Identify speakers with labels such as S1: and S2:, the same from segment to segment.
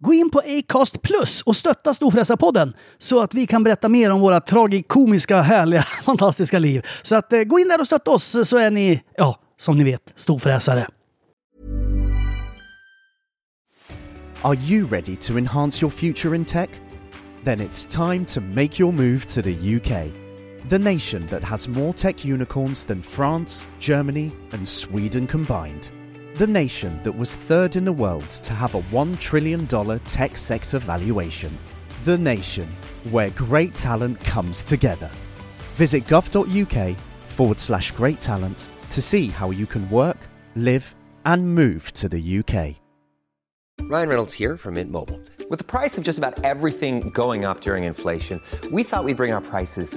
S1: Gå in på Acast Plus och stötta Storfräsarpodden så att vi kan berätta mer om våra tragikomiska, härliga, fantastiska liv. Så att eh, gå in där och stötta oss så är ni, ja, som ni vet, storfräsare.
S2: Are you ready to enhance your future in tech? Then it's time to make your move to the UK, the nation that has more tech unicorns than France, Germany, and Sweden combined. The nation that was third in the world to have a $1 trillion tech sector valuation. The nation where great talent comes together. Visit gov.uk forward slash great talent to see how you can work, live, and move to the UK.
S3: Ryan Reynolds here from Mint Mobile. With the price of just about everything going up during inflation, we thought we'd bring our prices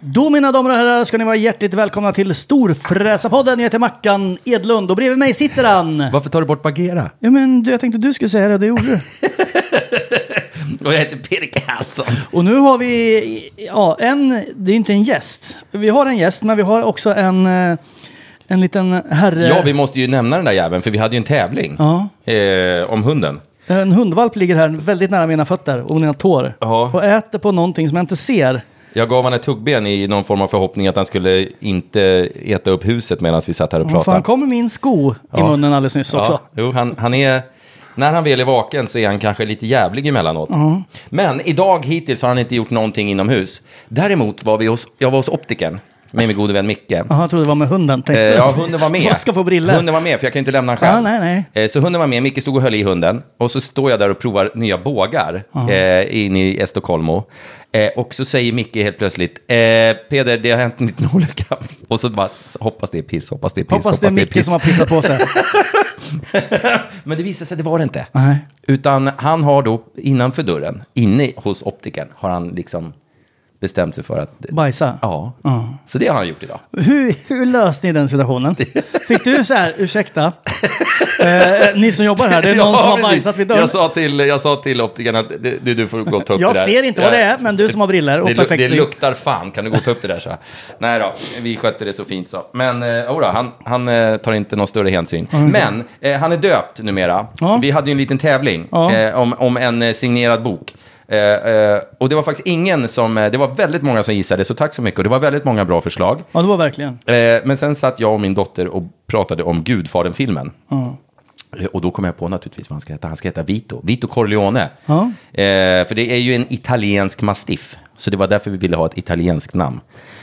S1: Då mina damer och herrar ska ni vara hjärtligt välkomna till Storfräsarpodden. Jag heter Mackan Edlund och bredvid mig sitter han.
S4: Varför tar du bort Bagheera?
S1: Ja men du, jag tänkte du skulle säga det och det gjorde du.
S4: Och jag heter Pirk Karlsson.
S1: Och nu har vi, ja, en, det är inte en gäst. Vi har en gäst, men vi har också en, eh, en liten herre.
S4: Ja, vi måste ju nämna den där jäveln, för vi hade ju en tävling eh, om hunden.
S1: En hundvalp ligger här väldigt nära mina fötter och mina tår.
S4: Ja.
S1: Och äter på någonting som jag inte ser.
S4: Jag gav honom ett tuggben i någon form av förhoppning att han skulle inte äta upp huset medan vi satt här och
S1: För
S4: pratade.
S1: han kom med min sko i munnen alldeles nyss också.
S4: Ja, jo, han, han är... När han väl är vaken så är han kanske lite jävlig emellanåt. Men idag hittills har han inte gjort någonting inomhus. Däremot var vi hos, jag var hos optikern med min gode vän Micke.
S1: Jaha, jag trodde det var med hunden.
S4: Eh,
S1: tänkte jag.
S4: ja, hunden var med.
S1: Jag ska få briller.
S4: Hunden var med, för jag kan ju inte lämna den själv.
S1: Ja, nej,
S4: Eh, så hunden var med, Micke stod och höll i hunden. Och så står jag där och provar nya bågar eh, in i Estocolmo. Eh, och så säger Micke helt plötsligt, eh, Peder, det har hänt en liten olycka. Och så bara, hoppas det är piss, hoppas det är piss,
S1: Hoppas det är Micke
S4: piss.
S1: som har pissat på sig.
S4: Men det visade sig, det var det inte.
S1: Nej.
S4: Utan han har då, innanför dörren, inne hos optikern, har han liksom bestämt sig för att...
S1: Bajsa.
S4: Ja. Så det har han gjort idag.
S1: Hur, hur löste ni den situationen? Fick du så här, ursäkta, eh, ni som jobbar här, det är någon
S4: Ja,
S1: som har
S4: precis.
S1: bajsat vid dörren.
S4: Jag sa till, jag sa till optikern att du, du- du får gå och ta upp
S1: Jag
S4: det där.
S1: ser inte vad det är, men du som har briller och
S4: det, lu-
S1: perfekt
S4: Det
S1: syn.
S4: luktar fan, kan du gå och ta upp det där? Så. Nej då, vi skötte det så fint så. Men eh, jodå, han, han eh, tar inte någon större hänsyn. Men eh, han är döpt numera.
S1: Ja.
S4: Vi hade ju en liten tävling
S1: Ja.
S4: eh, om, om en eh, signerad bok. Eh, eh, och det var faktiskt ingen som, eh, det var väldigt många som gissade, så tack så mycket. Och det var väldigt många bra förslag.
S1: Ja, det var verkligen.
S4: Eh, men sen satt jag och min dotter och pratade om Gudfadern-filmen. Eh, Och då kom jag på naturligtvis vad han ska heta. Han ska heta Vito. Vito Corleone.
S1: Ja.
S4: Eh, för det är ju en italiensk mastiff. Så det var därför vi ville ha ett italienskt namn.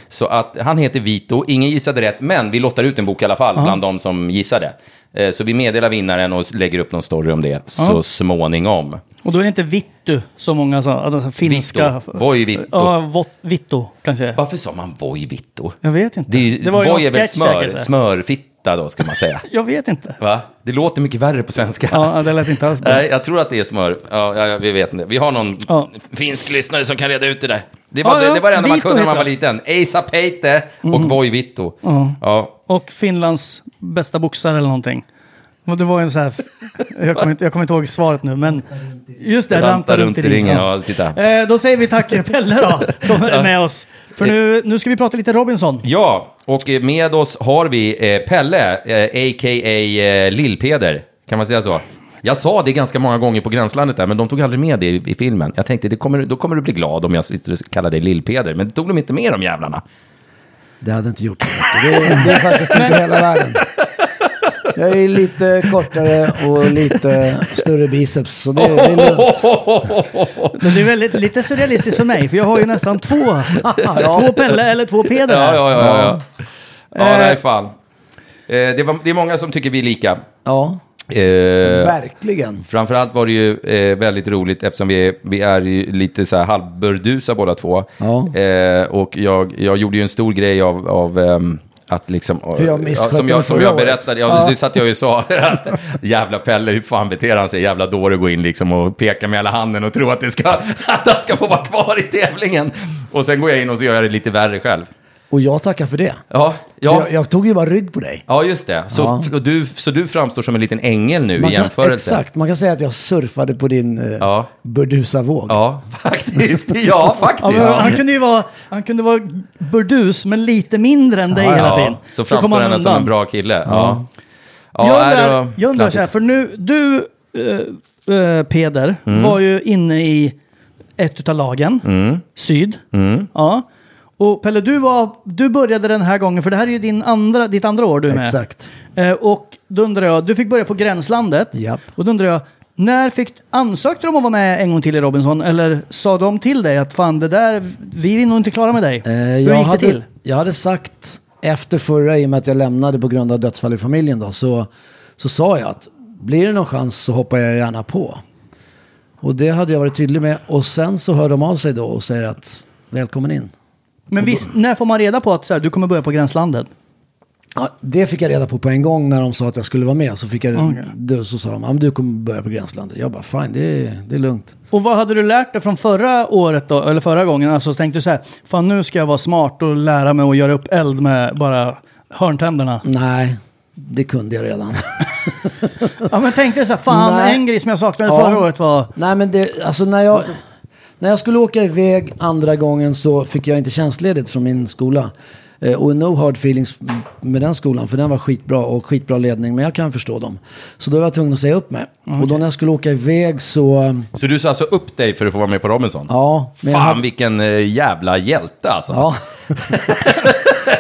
S4: Så att han heter Vito. Ingen gissade rätt, men vi lottar ut en bok i alla fall bland de som gissade. Eh, så vi meddelar vinnaren och lägger upp någon story om det så småningom.
S1: Och då är det inte Vittu som många sa, alltså finska...
S4: Vittu. Voi Vittu.
S1: Ja, vot, Vittu kanske.
S4: Varför sa man Voi Vito?
S1: Jag vet inte.
S4: Det, är ju-
S1: ju
S4: voi
S1: någon
S4: är väl
S1: sketch
S4: smör,
S1: säkert, så här.
S4: smörfitta då, ska man säga.
S1: Jag vet inte.
S4: Va? Det låter mycket värre på svenska.
S1: Ja, det lät inte alls bra.
S4: Nej, jag tror att det är smör. Ja, ja, ja, vi vet inte. Vi har någon
S1: Ja.
S4: finsk lyssnare som kan reda ut det där. Det var,
S1: Ja,
S4: det,
S1: ja.
S4: det var det enda man
S1: Vito
S4: kunde när man var
S1: heter
S4: liten. Eisa Peite och Voi Vitto. Mm. Ja.
S1: Och Finlands bästa boxare eller någonting. Och det var en så här... Jag kommer, inte, jag kommer inte ihåg svaret nu, men... Just det,
S4: Ranta runt i ringen, ja, titta.
S1: Eh, då säger vi tack till Pelle då, som är med oss. För nu, nu ska vi prata lite Robinson.
S4: ja, och eh, med oss har vi eh, Pelle, eh, a.k.a. eh, Lillpeder. Kan man säga så? Jag sa det ganska många gånger på Gränslandet där, men de tog aldrig med det i, i filmen. Jag tänkte, det kommer, då kommer du bli glad om jag sitter och kallar dig Lillpeder. Men det tog de inte med de jävlarna.
S5: Det hade inte gjort så mycket. Det, det är faktiskt inte hela världen. Jag är lite kortare och lite större biceps, så det, det är lugnt.
S1: Men det är väldigt, lite surrealistiskt för mig, för jag har ju nästan två. Två Pelle eller två Peder
S4: Ja,
S1: här.
S4: ja, ja. Ja, ja. ja nej, fan. Eh, det, var, det är många som tycker vi är lika.
S5: Ja,
S4: Eh,
S5: verkligen.
S4: framförallt var det ju eh, väldigt roligt eftersom vi är, vi är ju lite så här halvburdusa båda två.
S5: Ja.
S4: Eh, och jag, jag gjorde ju en stor grej av, av ehm, att liksom...
S5: Hur jag
S4: ja,
S5: misskötte
S4: som
S5: mig
S4: jag, som
S5: förra
S4: jag
S5: året.
S4: berättade, ja, det satt jag ju och sa. Att, jävla Pelle, hur fan beter han sig? Jävla dåre går in liksom och pekar med hela handen och tror att, det ska, att han ska få vara kvar i tävlingen. Och sen går jag in och så gör jag det lite värre själv.
S5: Och jag tackar för det.
S4: Ja,
S5: För
S4: ja.
S5: Jag, jag tog ju bara rygg på dig.
S4: Ja, just det. Så, och du, så du framstår som en liten ängel nu i
S5: Man kan,
S4: jämförelse.
S5: exakt, man kan säga att jag surfade på din eh,
S4: Ja.
S5: burdusa våg.
S4: Ja, faktiskt. Ja, faktiskt.
S1: Ja, men han kunde ju vara, han kunde vara burdus, men lite mindre än dig hela tiden.
S4: Ja, så framstår han som en bra kille. Ja. Ja,
S1: jag
S4: nej, det
S1: undrar,
S4: var
S1: jag undrar så här,
S4: klantigt.
S1: för nu, du eh, eh, Peder
S4: Mm.
S1: var ju inne i ett utav lagen, syd.
S4: Mm.
S1: Ja. Och Pelle, du, var, du började den här gången, för det här är ju din andra, ditt andra år du är med.
S5: Exakt.
S1: Eh, och då undrar jag, du fick börja på Gränslandet.
S5: Japp.
S1: Och då undrar jag, när fick, ansökte de om att vara med en gång till i Robinson? Eller sa de till dig att fan det där, vi är nog inte klara med dig?
S5: Eh,
S1: Hur gick
S5: jag
S1: det
S5: hade,
S1: till?
S5: Jag hade sagt efter förra, i och med att jag lämnade på grund av dödsfall i familjen, då, så, så sa jag att blir det någon chans så hoppar jag gärna på. Och det hade jag varit tydlig med. Och sen så hör de av sig då och säger att välkommen in.
S1: Men visst, när får man reda på att så här, du kommer börja på Gränslandet?
S5: Ja, det fick jag reda på på en gång när de sa att jag skulle vara med. Så, fick jag, då, så sa de att du kommer börja på Gränslandet. Jag bara fine, det är, det är lugnt.
S1: Och vad hade du lärt dig från förra året då, eller förra gången? Alltså så tänkte du så här, fan nu ska jag vara smart och lära mig att göra upp eld med bara hörntänderna.
S5: Nej, det kunde jag redan.
S1: Ja men tänkte jag så här, fan
S5: Nej.
S1: en grej som jag saknade
S5: Ja.
S1: förra året var...
S5: Nej men det, alltså när jag, när jag skulle åka iväg andra gången så fick jag inte tjänstledigt från min skola. Eh, Och no hard feelings med den skolan, för den var skitbra och skitbra ledning, men jag kan förstå dem. Så då var jag tvungen att säga upp mig. Och då när jag skulle åka iväg så,
S4: Så du sa alltså upp dig för att få vara med på Robinson?
S5: ja. men jag
S4: Fan
S5: hade-
S4: vilken eh, jävla hjälte alltså.
S5: Ja,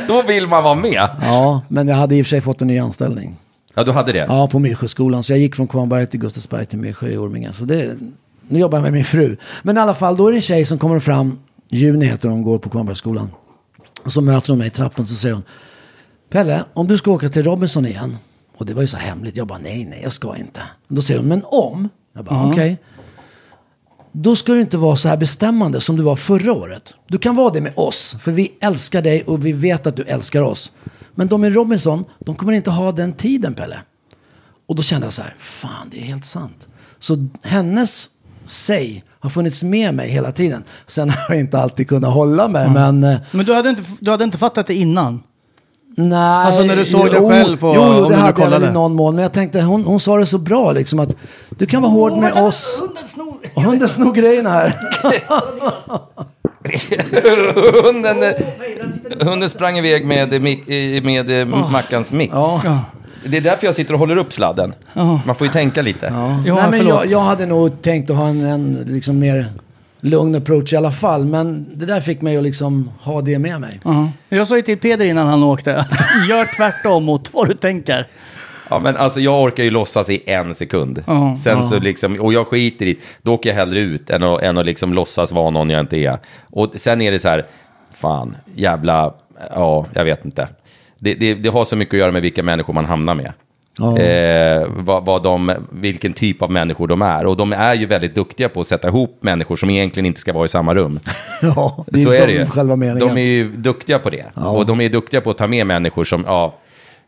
S4: Då vill man vara med.
S5: ja, men jag hade i och för sig fått en ny anställning.
S4: Ja, du hade det.
S5: Ja, på Myrsjöskolan. Så jag gick från Kvarnberg till Gustavsberg till Myrsjö i Orminge. Så det, nu jobbar jag med min fru. Men i alla fall, då är det en tjej som kommer fram, Juni heter hon, går på Kvarnbergsskolan. Och så möter hon mig i trappen så säger hon, Pelle, om du ska åka till Robinson igen. Och det var ju så hemligt. Jag bara, nej, nej, jag ska inte. Då säger hon, men om? Jag bara, okej. Då ska du inte vara så här bestämmande som du var förra året. Du kan vara det med oss, för vi älskar dig och vi vet att du älskar oss. Men de i Robinson, de kommer inte ha den tiden, Pelle. Och då kände jag så här, fan det är helt sant. Så hennes säg har funnits med mig hela tiden. Sen har jag inte alltid kunnat hålla mig,
S1: Mm.
S5: men eh,
S1: Men du hade inte, du hade inte fattat det innan?
S5: nej.
S1: Alltså, när du såg dig
S5: jo,
S1: själv på-
S5: Jo,
S1: om du
S5: jo det
S1: nu
S5: hade jag väl
S1: kollade.
S5: i någon mån. Men jag tänkte, hon, hon sa det så bra liksom att du kan vara hård med oss. Hunden snor grejerna här.
S4: Hunden, eh, hunden sprang iväg med, eh, mick- eh, med, eh, Mackans mick.
S1: Ja.
S4: Det är därför jag sitter och håller upp sladden. Man får ju tänka lite.
S1: Ja,
S5: Nej, men
S1: förlåt.
S5: jag, jag hade nog tänkt att ha en, en liksom mer lugn approach i alla fall. Men det där fick mig att liksom ha det med mig.
S1: Ja. Jag sa ju till Peder innan han åkte att gör tvärtom mot vad du tänker.
S4: Ja, men alltså jag orkar ju låtsas i en sekund.
S1: Ja.
S4: Sen så liksom, och jag skiter i Då åker jag hellre ut än att, än att liksom låtsas vara någon jag inte är. Och sen är det så här, fan, jävla, ja, jag vet inte. Det, det, det har så mycket att göra med vilka människor man hamnar med.
S5: Ja.
S4: Eh, vad, vad de, vilken typ av människor de är. Och de är ju väldigt duktiga på att sätta ihop människor som egentligen inte ska vara i samma rum.
S5: Ja, det är,
S4: så
S5: som
S4: är det ju.
S5: själva meningen.
S4: De är ju duktiga på det. Och de är duktiga på att ta med människor som, ja,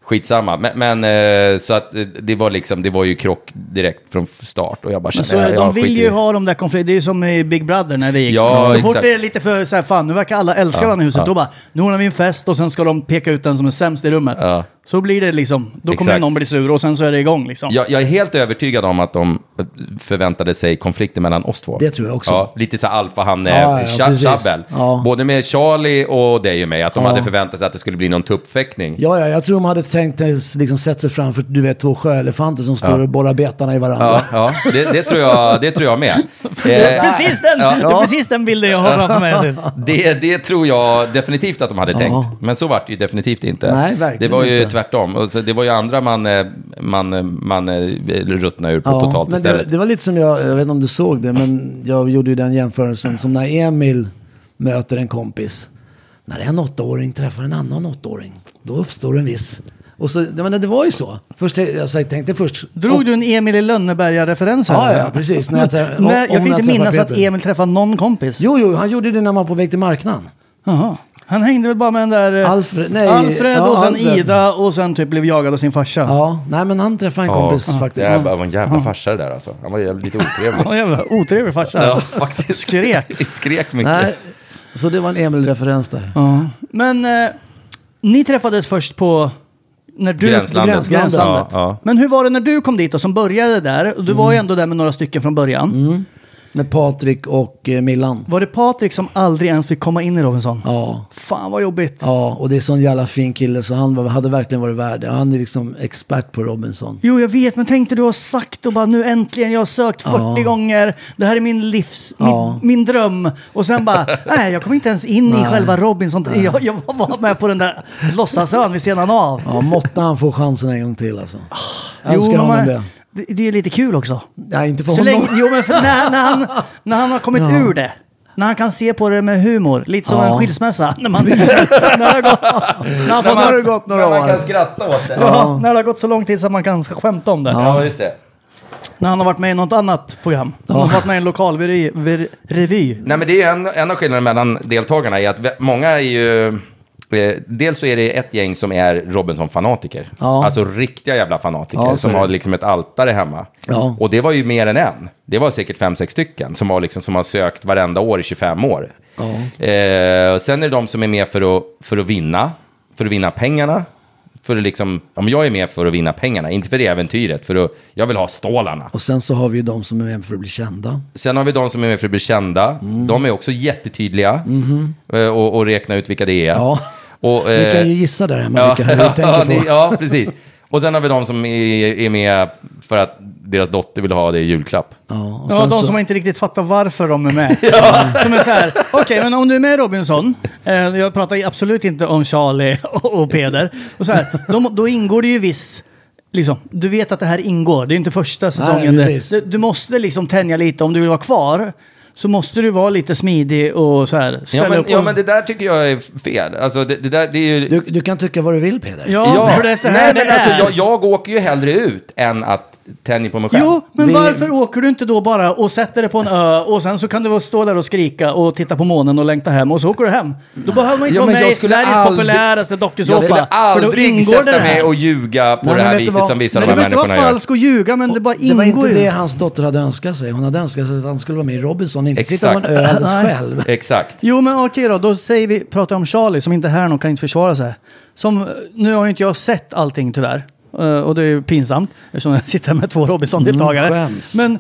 S4: skitsamma. Men, men eh, så att eh, det var liksom, det var ju krock direkt från start. Och jag bara
S1: Men
S4: kände,
S1: så,
S4: ja,
S1: de
S4: jag
S1: vill
S4: skiter
S1: ju
S4: i-
S1: ha de där konflikterna. Det är ju som i Big Brother när det gick.
S4: Ja,
S1: så fort
S4: exakt.
S1: det är lite för så här, fan nu verkar alla älska varandra i huset.
S4: ja.
S1: Då bara, nu ordnar vi en fest och sen ska de peka ut den som är sämst i rummet.
S4: Ja.
S1: Så blir det liksom, då kommer
S4: Exakt.
S1: någon bli sur och sen så är det igång liksom.
S4: Jag, jag är helt övertygad om att de eh, förväntade sig konflikter mellan oss två.
S5: Det tror jag också.
S4: Ja, lite så här
S5: Ja, ja, precis.
S4: alfahanne-tjabbel.
S5: Ja.
S4: Både med Charlie och dig och mig. Att de
S5: Ja.
S4: hade förväntat sig att det skulle bli någon tuppfäktning.
S5: Ja, ja, jag tror de hade tänkt eh, liksom sett sig framför, du vet, två sjöelefanter som står och borrar betarna i varandra.
S4: Ja, ja det, det, tror jag, det tror jag med.
S1: Det är
S4: Eh,
S1: precis den,
S4: Ja.
S1: det är precis den bilden jag har framför mig. typ.
S4: Det, det tror jag definitivt att de hade
S5: Ja.
S4: tänkt. Men så var det ju definitivt inte.
S5: Nej, verkligen
S4: det var ju
S5: inte.
S4: tvärtom. Och så det var ju andra man, eh, man, eh, man eh, ruttnade ur på totalt
S5: men det,
S4: istället.
S5: det var lite som jag, jag vet inte om du såg det, men jag gjorde ju den jämförelsen som när Emil möter en kompis. När en åttaåring träffar en annan åttaåring, då uppstår en viss... Och så, jag menar, det var ju så. Först, alltså, jag sa- tänkte först...
S1: Drog du en Emil i Lönneberga-referens här?
S5: Ja, ja, precis. När jag träff- om-
S1: Nej, jag
S5: om
S1: kan
S5: när jag
S1: inte
S5: träffar
S1: minnas att
S5: Peter.
S1: Emil träffade någon kompis.
S5: Jo, jo, han gjorde det när man var på väg till marknaden.
S1: Jaha. Han hängde väl bara med den där eh,
S5: Alfred- nej,
S1: Alfred
S5: ja,
S1: och sen
S5: Alfred.
S1: Ida och sen typ blev jagad av sin farsa.
S5: Ja, nej men han träffade en kompis faktiskt.
S4: Jävlar, det var en jävla farsa det där alltså. Han var jävligt lite
S1: Ja,
S4: otrevlig.
S1: jävla otrevlig farsa.
S4: Ja, faktiskt.
S1: Skrek.
S4: Skrek mycket.
S5: Nej, så det var en Emil-referens där.
S1: Men eh, ni träffades först på... När du,
S4: Gränslandet.
S5: Gränslandet.
S1: Gränslandet.
S4: Ja, ja.
S1: Men hur var det när du kom dit och som började där? Och Du var ju
S5: Mm.
S1: ändå där med några stycken från början.
S5: Med Patrik och eh, Millan.
S1: Var det Patrik som aldrig ens fick komma in i Robinson?
S5: Ja.
S1: Fan vad jobbigt.
S5: Ja, och det är sån jävla fin kille så han var, hade verkligen varit värd det. Han är liksom expert på Robinson.
S1: Jo, jag vet, men tänkte du har sagt och bara nu äntligen, jag har sökt 40 gånger, det här är min livs,
S5: Ja.
S1: min, min dröm. Och sen bara, nej, jag kom inte ens in i
S5: Nej.
S1: själva Robinson. Jag, jag var med på den där låtsasön vid sidan av.
S5: Ja, måtte han få chansen en gång till alltså. Jag
S1: Ah, Jo,
S5: önskar
S1: men
S5: honom
S1: man-
S5: det.
S1: det. Det är ju lite kul också.
S5: Nej, inte för
S1: Så
S5: honom.
S1: länge, jo, men för när, när, han, när han har kommit ur det. När han kan se på det med humor. Lite som
S5: Ja.
S1: en skilsmässa. När, man, när det har gått, när han fått,
S5: har det gått några
S4: Man kan
S5: år.
S4: skratta åt det.
S1: ja. när det har gått så lång tid så att man kan skämta om det.
S4: Ja, just det.
S1: När han har varit med i något annat program. Han har varit med i en lokal veri, ver, revy.
S4: Mm. Nej, men det är en, en av skillnaderna mellan deltagarna är att vä- många är ju... eh, Dels så är det ett gäng som är Robinson-fanatiker.
S5: Ja.
S4: Alltså riktiga jävla fanatiker
S5: Ja, så
S4: som
S5: är det.
S4: har liksom ett altare hemma.
S5: Ja.
S4: Och det var ju mer än en. Det var säkert fem, sex stycken som, var liksom, som har sökt varenda år i 25 år. Eh, och sen är det de som är med för att, för att vinna, för att vinna pengarna. För att liksom, om jag är med för att vinna pengarna, inte för äventyret, för att jag vill ha stålarna.
S5: Och sen så har vi ju de som är med för att bli kända.
S4: Sen har vi de som är med för att bli kända. De är också jättetydliga eh, och, och räkna ut vilka det är.
S5: Ja.
S4: Och,
S5: Ni kan ju
S4: eh,
S5: gissa där hemma
S4: ja,
S5: vilka vi tänker
S4: ja,
S5: på.
S4: ni- ja, precis. Och sen har vi de som är, är med för att deras dotter vill ha det i julklapp.
S5: Ja, och
S1: Ja,
S5: sen
S1: de
S5: så-
S1: som inte riktigt fattar varför de är med. Som är så här, okej, men om du är med i Robinson, eh, jag pratar absolut inte om Charlie och, och Peder, och så här, de, då ingår det ju viss, liksom, du vet att det här ingår, det är inte första säsongen.
S5: precis.
S1: du, du måste liksom tänja lite om du vill vara kvar. Så måste du vara lite smidig och så här, ställa
S4: Ja men,
S1: upp. Och,
S4: ja, men det där tycker jag är fel. Alltså, det, det där, det är ju...
S5: du, du kan tycka vad du vill Peder.
S1: Ja, för det är så här
S4: nej,
S1: det
S4: men
S1: är.
S4: alltså, jag, jag åker ju hellre ut än att tänja på mig själv.
S1: Jo, men
S5: Vi-
S1: varför åker du inte då bara och sätter dig på en ö och sen så kan du väl stå där och skrika och titta på månen och längta hem och så åker du hem. Då behöver man inte
S4: Ja,
S1: vara
S4: men
S1: med
S4: jag
S1: i
S4: skulle
S1: Sveriges
S4: aldrig-
S1: populäraste
S4: jag skulle
S1: dokusåpa. för då
S4: aldrig
S1: ingår
S4: sätta
S1: det
S4: mig
S1: här.
S4: och ljuga på
S5: Nej,
S4: det
S5: men
S4: här
S5: vet du
S4: viset
S5: vad?
S4: som vissa
S1: Nej,
S4: av
S1: det
S4: de
S1: behöver
S4: här
S1: inte vara
S4: människorna gör.
S1: falsk och ljuga, men det bara
S5: Det var
S1: ingår
S5: inte det
S1: ju.
S5: hans dotter hade önskat sig. Hon hade önskat sig att han skulle vara med i Robinson, inte
S4: Exakt.
S5: sitta på en ö alldeles
S1: Nej.
S5: själv.
S4: Exakt.
S1: Jo, men okej då. Då säger vi, pratar om Charlie som inte är här och kan inte försvara sig. Som, nu har ju inte jag sett allting tyvärr. Eh, Och det är ju pinsamt eftersom jag sitter här med två Robinson-deltagare.
S5: Mm, skäms.
S1: men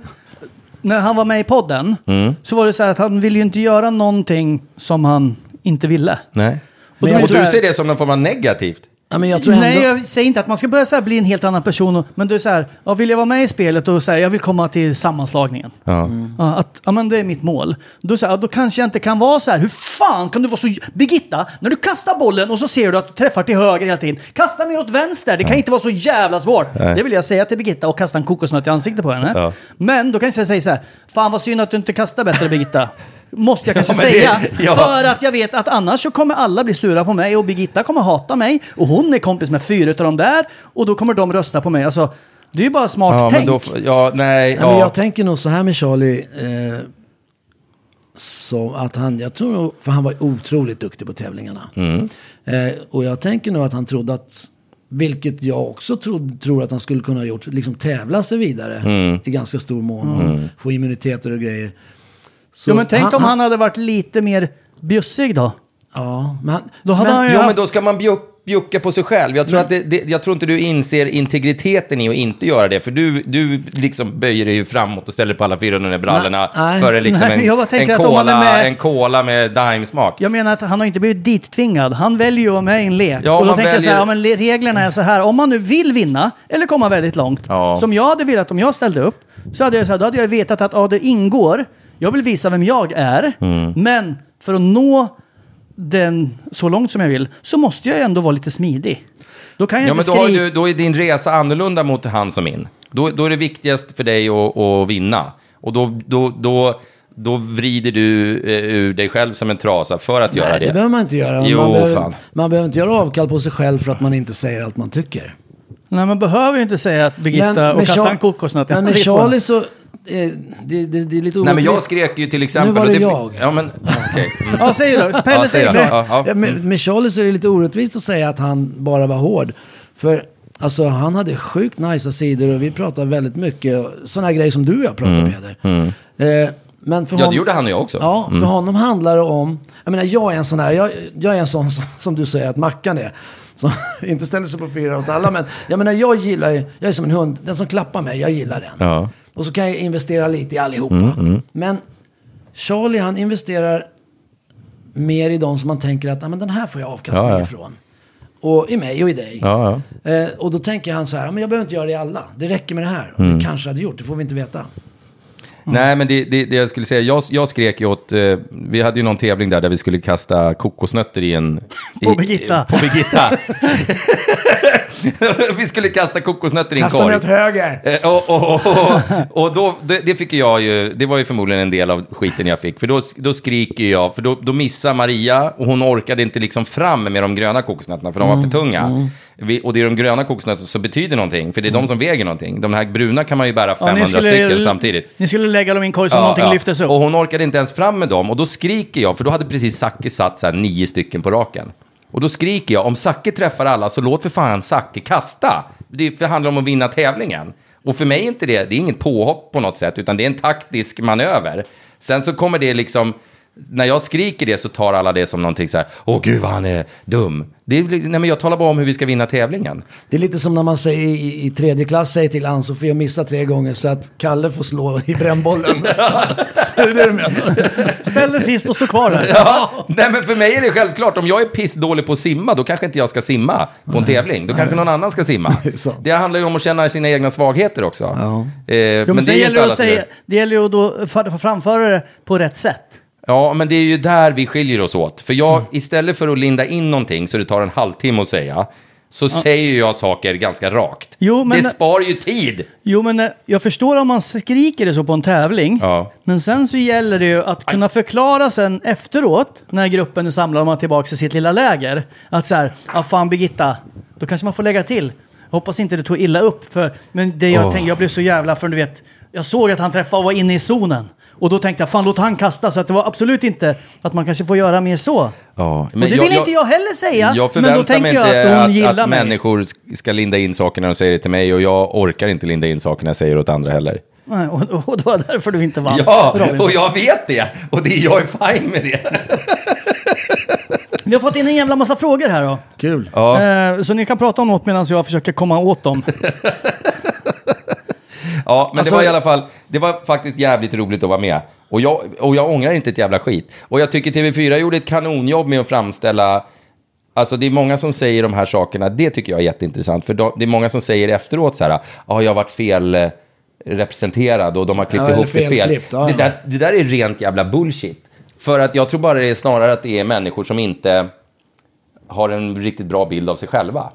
S1: när han var med i podden så var det så här att han ville ju inte göra någonting som han inte ville.
S4: Nej.
S1: då
S4: Och,
S1: är det
S4: och
S1: så här-
S4: du ser det som någon form av negativt.
S5: Ja, men jag tror ändå...
S1: Nej, jag säger inte att man ska börja så här bli en helt annan person. och- Men du är så här, ja, vill jag vara med i spelet och säga jag vill komma till sammanslagningen.
S4: Ja.
S1: Ja, att, ja, men det är mitt mål. Då, så här, ja, då kanske jag inte kan vara så här. Hur fan kan du vara så... Birgitta, när du kastar bollen och så ser du att du träffar till höger hela tiden. Kasta mer åt vänster. Det kan inte vara så jävla svårt. Det vill jag säga till Birgitta och kasta en kokosnöt i ansiktet på henne.
S4: Ja.
S1: Men då kanske jag säger så här. Fan vad synd att du inte kastar bättre Birgitta. Måste jag kanske
S4: men det-
S1: säga.
S4: ja.
S1: För att jag vet att annars så kommer alla bli sura på mig och Birgitta kommer hata mig. Och hon är kompis med fyra av dem där. Och då kommer de rösta på mig. Alltså, det är ju bara smart
S4: Ja, men
S1: tänk.
S4: då, ja, nej,
S5: Nej, men
S4: ja.
S5: jag tänker nog så här med Charlie. Eh, som att han, jag tror nog, för han var otroligt duktig på tävlingarna.
S4: Mm.
S5: Eh, och jag tänker nog att han trodde att, vilket jag också trodde, tror att han skulle kunna ha gjort, liksom tävla sig vidare
S4: Mm.
S5: i ganska stor mån och få immuniteter och grejer. Så
S1: ja, men tänk om han hade varit lite mer bjussig då.
S5: Ja, men han,
S1: Då hade
S5: men,
S1: han ju
S4: Jo,
S1: haft...
S4: men då ska man bjuck, bjucka på sig själv. Jag tror,
S1: Mm.
S4: att det, det, jag tror inte du inser integriteten i att inte göra det. För du, du liksom böjer dig ju framåt och ställer på alla fyra under brallorna
S5: Nej, nej.
S4: före liksom
S1: Nej, jag bara
S4: en,
S1: tänker
S4: en,
S1: att om man är
S4: cola,
S1: med-
S4: en cola med daimsmak.
S1: Jag menar att han har inte blivit dittvingad. Han väljer ju att vara med i en lek.
S4: Ja,
S1: och då
S4: man
S1: tänker jag så här,
S4: väljer-
S1: ja, men le- reglerna är så här. Om man nu vill vinna, eller komma väldigt långt,
S4: Ja.
S1: som jag hade velat om jag ställde upp, så hade jag, så här, då hade jag vetat att ja, det ingår. Jag vill visa vem jag är,
S4: Mm.
S1: men för att nå den så långt som jag vill så måste jag ändå vara lite smidig. Då kan jag
S4: Ja, men
S1: inte
S4: då, har
S1: skriva...
S4: du, då är din resa annorlunda mot han som min. Då, då är det viktigast för dig att, att vinna. Och då, då, då, då vrider du eh, ur dig själv som en trasa för att göra
S5: Nej,
S4: det.
S5: det behöver man inte göra.
S4: Jo,
S5: man, behöver,
S4: fan.
S5: man behöver inte göra avkall på sig själv för att man inte säger allt man tycker.
S1: Nej, man behöver ju inte säga att Birgitta och
S5: med
S1: kasta
S5: Char-
S1: en kokosnöt.
S5: Men med
S1: Jag ser på
S5: Charlie så... eh, Det, det, det är lite
S4: Nej, men jag
S5: orättvist.
S4: skrek ju till exempel.
S5: Nu
S4: och
S5: var det
S4: fick-
S5: jag.
S4: Ja, men, okej. Mm.
S1: den. Ja, säg då. Pelle
S4: Ja, säg
S1: säger
S4: då.
S1: klart.
S4: Ja, ja.
S5: Ja, med, med Charlie så är det lite orättvist att säga att han bara var hård. För alltså, han hade sjukt nice sidor och vi pratade väldigt mycket. Sådana grejer som du och jag pratar Peder. Eh, men för
S4: Mm. Ja,
S5: hon-
S4: det gjorde han och jag också.
S5: Ja, för honom handlar det om... Jag menar, jag är en sån här... Jag, jag är en sån som, som du säger att Mackan är. Som inte ställer sig på fyra åt alla. Men jag menar, jag gillar ju... Jag är som en hund. Den som klappar mig, jag gillar den.
S4: Ja. Mm,
S5: Och så kan jag investera lite i allihopa. Men Charlie, han investerar mer i de som man tänker att "Ah, men den här får jag avkastning
S4: Ja, ja.
S5: ifrån. Och i mig och i dig.
S4: Ja,
S5: Eh, och då tänker han så här, "Ah, men jag behöver inte göra det i alla. Det räcker med det här. Och
S4: Mm.
S5: Det kanske hade gjort, det får vi inte veta.
S4: Nej, men det, det, det jag skulle säga, jag, jag skrek ju åt, eh, vi hade ju någon tävling där, där vi skulle kasta kokosnötter i en...
S1: På
S4: i,
S1: Birgitta.
S4: På Birgitta. vi skulle kasta kokosnötter i en
S5: Kasta mig
S4: korg.
S5: åt höger!
S4: Eh, Och, och, och, och, och då, det, det fick jag ju, det var ju förmodligen en del av skiten jag fick, för då, då skriker jag, för då, då missar Maria, och hon orkade inte liksom fram med de gröna kokosnötterna, för de
S1: Mm,
S4: var för tunga. Vi, och det är de gröna kokosnötterna som betyder någonting, för det är de som väger någonting. De här bruna kan man ju bära
S1: Mm. Ja, ni
S4: 500
S1: skulle-
S4: stycken samtidigt.
S1: Ni skulle lägga dem i en korg så någonting lyftes upp.
S4: Och hon orkade inte ens fram med dem. Och då skriker jag, för då hade precis Zacke satt så här nio stycken på raken. Och då skriker jag, om Zacke träffar alla så låt för fan Zacke kasta. Det för- handlar om att vinna tävlingen. Och för mig är inte det, det är inget påhopp på något sätt, utan det är en taktisk manöver. Sen så kommer det liksom, när jag skriker det så tar alla det som någonting så här, åh gud vad han är dum. Det är, liksom- nej men jag talar bara om hur vi ska vinna tävlingen.
S5: Det är lite som när man säger i, i- i tredje klass säger till Ann-Sofie att missa tre gånger så att Kalle får slå i brännbollen. är det det du menar?
S1: Ställ dig sist och stå kvar där.
S4: Ja, nej men för mig är det självklart, om jag är pissdålig på att simma, då kanske inte jag ska simma på en tävling. Då kanske någon annan ska simma.
S5: Det är sant.
S4: Det handlar ju om att känna sina egna svagheter också. Eh,
S1: Jo, men
S4: det
S1: sen
S4: är ju
S1: gäller
S4: inte
S1: det,
S4: alla
S1: att
S4: som gör.
S1: säga, det gäller ju att då fa- framföra det på rätt sätt.
S4: Ja, men det är ju där vi skiljer oss åt. För jag,
S1: Mm.
S4: istället för att linda in någonting så det tar en halvtimme att säga, så säger jag saker ganska rakt.
S1: Jo, men-
S4: Det spar ju tid.
S1: Jo, men eh, jag förstår om man skriker det så på en tävling.
S4: Ja.
S1: Men sen så gäller det ju att kunna förklara sen efteråt, när gruppen är samlad och man är tillbaka i sitt lilla läger. Att så här, ja fan Birgitta, då kanske man får lägga till. Hoppas inte det tog illa upp, för, men det jag tänkte, jag blev så jävla för du vet, jag såg att han träffade och var inne i zonen. Och då tänkte jag, fan låt han kasta, så att det var absolut inte att man kanske får göra mer så.
S4: Ja,
S1: Men det vill inte jag heller säga,
S4: Jag
S1: men då
S4: förväntar
S1: tänker
S4: mig
S1: jag att
S4: inte
S1: hon
S4: att, att,
S1: gillar mig.
S4: människor sk- ska linda in saker när de säger det till mig och jag orkar inte linda in saker när jag säger det åt andra heller.
S1: Nej, och, och det var därför du inte vann.
S4: Ja,
S1: Robinson.
S4: och jag vet det. Och det, jag är fine med det.
S1: Vi har fått in en jävla massa frågor här då.
S5: Kul.
S1: Eh, så ni kan prata om något medan jag försöker komma åt dem.
S4: Ja, men
S5: Alltså-
S4: det var i alla fall, det var faktiskt jävligt roligt att vara med. Och jag, och jag ångrar inte ett jävla skit. Och jag tycker TV4 gjorde ett kanonjobb med att framställa, alltså det är många som säger de här sakerna, det tycker jag är jätteintressant. För de, det är många som säger efteråt så här, ja, jag har varit fel eh, representerad och de har klippt
S5: Ja, eller
S4: ihop det fel.
S5: felklippt, ja.
S4: Det, där, det där är rent jävla bullshit. För att jag tror bara det är snarare att det är människor som inte har en riktigt bra bild av sig själva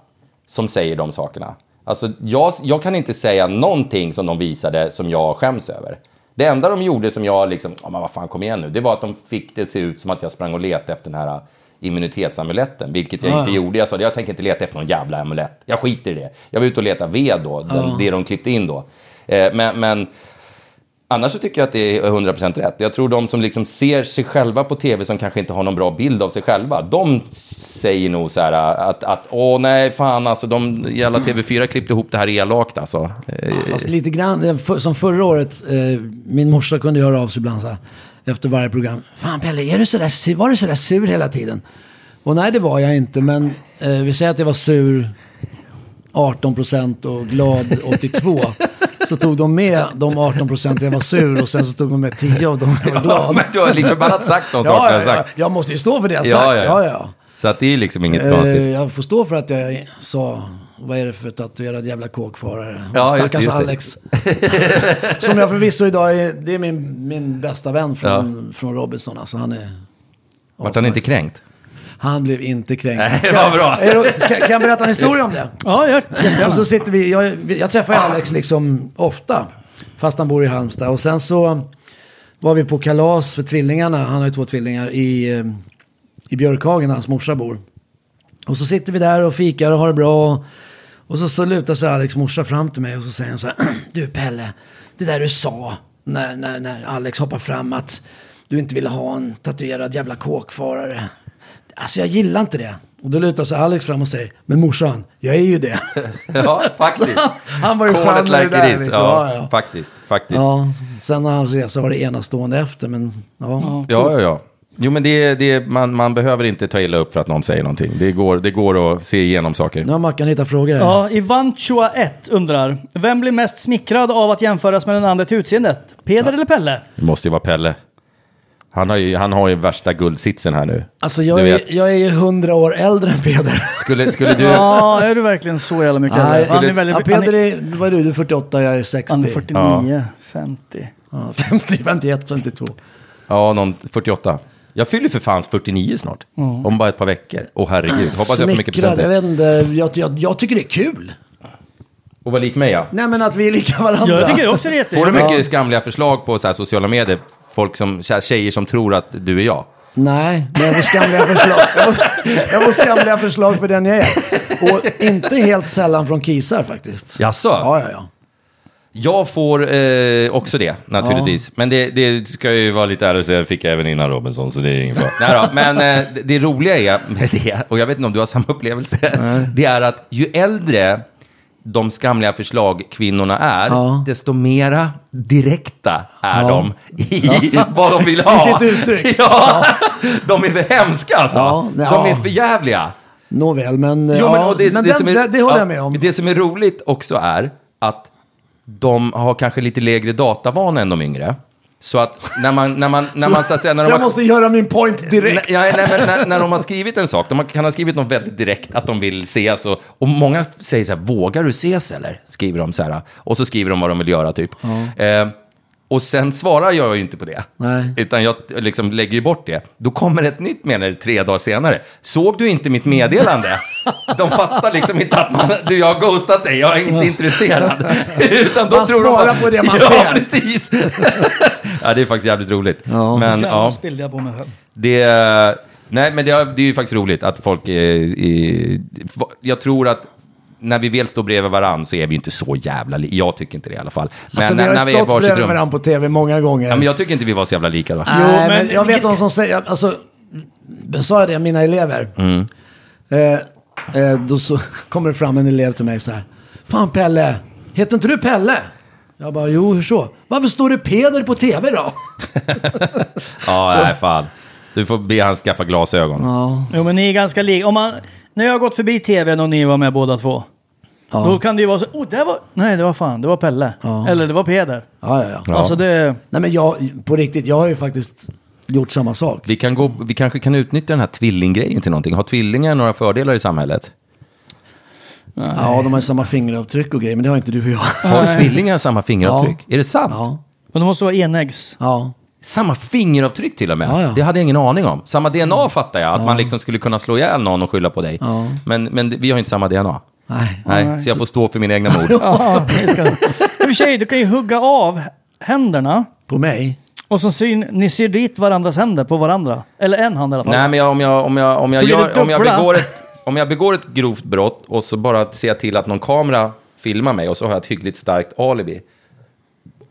S4: som säger de sakerna. Alltså, jag, jag kan inte säga någonting som de visade som jag skäms över. Det enda de gjorde som jag liksom, ja men vad fan kom igen nu, det var att de fick det se ut som att jag sprang och letade efter den här äh, immunitetsamuletten, vilket jag
S5: Ja,
S4: inte
S5: ja.
S4: gjorde. Jag sa jag tänker inte leta efter någon jävla amulett, jag skiter i det. Jag var ute och letade ved då, den, det de klippte in då. Eh, men, men Annars så tycker jag att det är 100% rätt. Jag tror de som liksom ser sig själva på tv som kanske inte har någon bra bild av sig själva, de säger nog så här att, att åh nej fan alltså de jävla TV4 klippte ihop det här elakt alltså. Eh,
S5: Fast lite grann, eh, för, som förra året, eh, min morsa kunde höra av sig ibland så här, efter varje program. Fan Pelle, är du så där, sur- var du sådär sur hela tiden? Och nej, det var jag inte, men eh, vi säger att jag var sur 18 procent och glad 82. så tog de med de 18 procenten jag var sur och sen så tog de med 10 av dem jag var
S4: Ja,
S5: glad.
S4: men du har liksom bara sagt de saker jag
S5: ja, ja,
S4: har
S5: ja,
S4: sagt.
S5: jag måste ju stå för det jag
S4: Ja,
S5: sagt.
S4: ja,
S5: ja,
S4: ja.
S5: ja.
S4: Så att det är liksom inget
S5: Eh,
S4: konstigt.
S5: jag får stå för att jag sa, vad är det för tatuerad jävla kåkfarare?
S4: Ja, just det,
S5: Stackars
S4: just det.
S5: Alex. Som jag förvisso idag är, det är min, min bästa vän från, från Robinson. Alltså han är...
S4: Vart han inte kränkt?
S5: Han blev inte kränkt.
S4: Nej, vad bra.
S5: Är det- Ska, kan jag berätta en historia om det?
S1: Ja, jag,
S5: Och så sitter vi, jag, jag träffar ju Alex liksom ofta, fast han bor i Halmstad. Och sen så var vi på kalas för tvillingarna, han har ju två tvillingar, i, eh, i Björkhagen där hans morsa bor. Och så sitter vi där och fikar och har det bra. Och så, så lutar sig Alex morsa fram till mig och så säger han så här, du Pelle, det där du sa när, när, när Alex hoppar fram att du inte ville ha en tatuerad jävla kåkfarare. Alltså jag gillar inte det. Och då lutar sig Alex fram och säger, men morsan, jag är ju det.
S4: Ja, faktiskt.
S5: Han var ju
S4: Kolet
S5: stjärna i det
S4: like
S5: där,
S4: it is.
S5: liksom.
S4: Ja,
S5: Ja, ja.
S4: faktiskt. faktiskt. Ja.
S5: Ja, sen när hans resa var det enastående efter, men ja.
S4: ja, ja, Jo, men det, det, man, man behöver inte ta illa upp för att någon säger någonting. Det går, det går att se igenom saker.
S5: Nu har Mackan hittat frågor här.
S1: ja, Ivan Chua 1 undrar. Vem blir mest smickrad av att jämföras med den andra till utseendet? Peder eller Pelle?
S4: Det måste ju vara Pelle. Han har ju, han har ju värsta guldsitsen här nu.
S5: Alltså
S4: Du
S5: jag är,
S4: vet.
S5: jag är ju hundra år äldre än Peder.
S4: Skulle, skulle du...
S1: Ja, är du verkligen så jävla mycket
S5: Nej,
S1: äldre? Han är
S5: ja,
S1: väldigt... Han
S5: Peder
S1: är,
S5: är, vad är du, du är 48, jag är 60.
S1: han är 49, 50.
S5: Ja, 50, 51, 52.
S4: Ja, någon 48. Jag fyller för fan 49 snart.
S5: Mm.
S4: Om bara ett par veckor. Åh herregud. Hoppas jag får mycket
S5: Smickrad, jag
S4: presenter.
S5: vet inte, jag, jag, jag tycker det är kul.
S4: Och var lik mig ja.
S5: Nej men att vi är lika varandra.
S1: Jag tycker också det är
S4: Får du
S1: jättejobbigt.
S4: mycket skamliga förslag på så här sociala medier? Folk som, så här tjejer som tror att du är jag.
S5: Nej, men jag får skamliga förslag. Jag får, jag får skamliga förslag för den jag är. Och inte helt sällan från kisar faktiskt.
S4: Jaså?
S5: Ja, ja, ja.
S4: Jag får eh, också det, naturligtvis. Men det, det ska jag ju vara lite ärlig och säga, fick jag även innan Robinson, så det är ingen fara. Nej då, men eh, det- det roliga är med det, och jag vet inte om du har samma upplevelse, det är att ju äldre de skamliga förslag kvinnorna är,
S5: Ja.
S4: desto mera direkta är de i vad de vill ha.
S5: I sitt uttryck.
S4: Ja, de är för hemska alltså.
S5: Ja, nej,
S4: De är
S5: ja.
S4: för jävliga.
S5: Nåväl, men,
S4: Jo, men,
S5: ja,
S4: och det,
S5: men
S4: det,
S5: den,
S4: som är,
S5: det, det håller
S4: ja,
S5: jag med om.
S4: Det som är roligt också är att de har kanske lite lägre datavana än de yngre. Så att när man, när man, när man så att säga, när
S5: så
S4: de
S5: jag
S4: har,
S5: måste göra min point direkt.
S4: Ja, nej, men när, när de har skrivit en sak, de har- kan ha skrivit något väldigt direkt, att de vill ses. Och, och många säger så här, vågar du ses eller? Skriver de så här. Och så skriver de vad de vill göra typ. Eh, och sen svarar jag ju inte på det.
S5: Nej.
S4: Utan jag liksom lägger ju bort det. Då kommer ett nytt meddelande tre dagar senare. Såg du inte mitt meddelande? De fattar liksom inte att man, du, jag har ghostat dig, jag är inte intresserad. Utan då
S5: Man
S4: tror de
S5: svarar
S4: att-
S5: på det man
S4: ja,
S5: ser.
S4: precis. ja, det är faktiskt jävligt roligt. Men,
S1: Jävlar,
S4: ja.
S1: nu spillde jag på mig själv.
S4: Det, nej, men det, har- det är ju faktiskt roligt att folk... Eh, eh, jag tror att när vi väl står bredvid varandra så är vi ju inte så jävla lika. Jag tycker inte det i alla fall. Men
S5: alltså,
S4: när,
S5: vi har
S4: när
S5: ju
S4: vi är i
S5: stått
S4: varsitt
S5: bredvid
S4: rum...
S5: varandra på tv många gånger.
S4: Ja, men jag tycker inte vi var så jävla lika. Va?
S5: Nej,
S1: Jo,
S5: men,
S1: men-
S5: jag vet de som säger, alltså, jag sa jag det, mina elever. Eh, eh, då så kommer det fram en elev till mig så här. Fan Pelle, heter inte du Pelle? Jag bara, jo hur så? Varför står det Peder på tv då?
S4: Ja, nej, fan. Du får be han skaffa glasögon.
S1: Jo, men ni är ganska lika. Om man, när jag har gått förbi tvn och ni var med båda två. Då kan det ju vara så. Oh, det var... Nej, det var fan. Det var Pelle. Eller det var Peder.
S5: Ja, ja, ja.
S1: Alltså det...
S5: Nej men jag, på riktigt, jag har ju faktiskt gjort samma sak.
S4: Vi, kan gå, vi kanske kan utnyttja den här tvillinggrejen till någonting. Har tvillingar några fördelar i samhället?
S5: Ja, de har ju samma fingeravtryck och grejer, men det har inte du och jag.
S4: Har tvillingar samma fingeravtryck? Är det sant?
S5: Ja,
S1: Men det måste vara enäggs.
S5: ja.
S4: Samma fingeravtryck till och med.
S5: Ja, ja.
S4: Det hade jag ingen aning om. Samma
S1: Mm.
S4: DNA fattar jag, att man liksom skulle kunna slå ihjäl någon och skylla på dig. Men, men vi har inte samma DNA.
S5: Nej.
S4: Nej, så jag får stå för mina egna mord.
S1: Ja, det ska... I och för sig, du kan ju hugga av händerna.
S5: På mig?
S1: Och så syr ni syr dit varandras händer på varandra. Eller en hand i alla fall.
S4: Nej, men jag, om, jag, om, jag, om, jag,
S1: Så blir det
S4: gör- om, jag
S1: dubbla.
S4: begår ett, om jag begår ett grovt brott och så bara ser jag till att någon kamera filmar mig och så har jag ett hyggligt starkt alibi.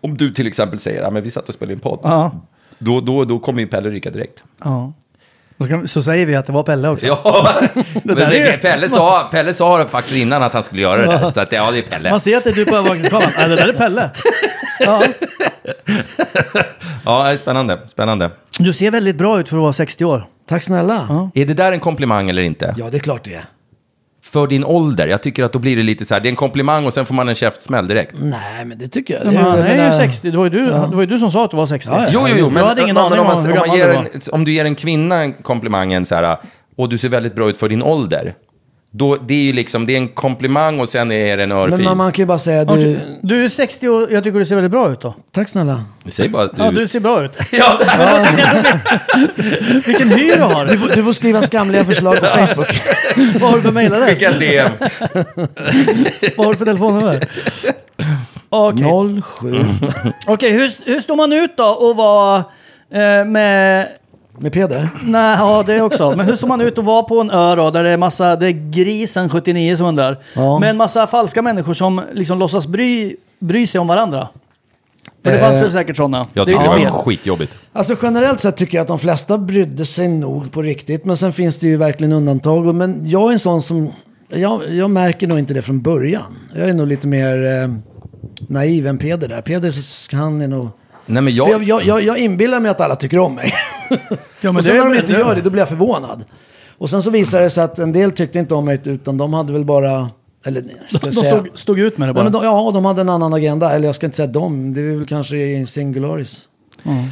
S4: Om du till exempel säger att men vi satt och spelade in podd,
S1: Ja.
S4: då, då, då kommer ju Pelle ryka direkt.
S1: ja. Så, kan, så säger vi att det var Pelle också.
S4: Ja, men
S1: där är ju-
S4: Pelle, sa, Pelle sa det faktiskt innan att han skulle göra det där. Så att, ja, det är Pelle.
S1: Man ser att det är du på övervakningskameran. Nej, det där är Pelle. Ja.
S4: Ja, det är spännande. spännande.
S1: Du ser väldigt bra ut för att vara 60 år.
S5: Tack snälla. Ja,
S4: Är det där en komplimang eller inte?
S5: ja det är klart det är.
S4: För din ålder? Jag tycker att då blir det lite så här, det är en komplimang och sen får man en käftsmäll direkt.
S5: Nej, men det tycker jag.
S1: Ja, men äh,
S5: Jag
S1: han är ju
S5: menar-
S1: 60. Det var ju du, det var ju du som sa att du var 60.
S5: Ja, ja.
S4: Jo, jo, jo, men,
S1: jag hade ingen
S4: ja,
S1: aning
S4: men
S1: om,
S4: om, man,
S1: hur
S4: om,
S1: gammal
S4: man ger
S1: du var.
S4: en, om du ger en kvinna komplimangen så här, och du ser väldigt bra ut för din ålder, Då, det är ju liksom, det är en komplimang och sen är det en
S5: Men
S4: örfil.
S5: man, man kan ju bara säga du...
S1: Okej, Du är 60 och jag tycker du ser väldigt bra ut då.
S5: Tack snälla.
S4: Säg bara att du...
S1: Ja, du ser bra ut.
S4: Ja, det här-
S1: Vilken hy du har.
S5: Du, får- du får skriva skamliga förslag på Facebook.
S1: Vad har du för mejladress?
S4: Skicka ett DM.
S1: Vad har du för telefonnummer? Okej, Mm.
S5: 07.
S1: Okej, hur, hur står man ut då och vara eh, med...
S5: Med Peder.
S1: Nej, ja det också. Men hur står man ut och vara på en ö då, där det är massa... Det är grisen 79 som undrar.
S5: Ja.
S1: Med en massa falska människor som liksom låtsas bry, bry sig om varandra. För det
S5: Eh.
S1: fanns väl säkert sådana.
S4: Jag
S1: det
S4: tyckte det
S1: är ju ett
S4: var
S1: spel.
S4: skitjobbigt.
S5: Alltså generellt sett tycker jag att de flesta brydde sig nog på riktigt. Men sen finns det ju verkligen undantag. Och- Men jag är en sån som... Jag, jag märker nog inte det från början. Jag är nog lite mer eh, naiv än Peder där. Peder, han är nog...
S4: Nej, men jag...
S5: För jag, jag, jag, jag inbillar mig att alla tycker om mig.
S1: Ja, men
S5: och sen
S1: det är
S5: när de
S1: väl-
S5: inte gör det, då blir jag förvånad. Och sen så visar det sig att en del tyckte inte om mig, utan de hade väl bara... Eller, ska
S1: De
S5: jag säga,
S1: stod, stod ut med det bara.
S5: Nej, men de, ja, de hade en annan agenda. Eller jag ska inte säga dem, det är väl kanske singularis.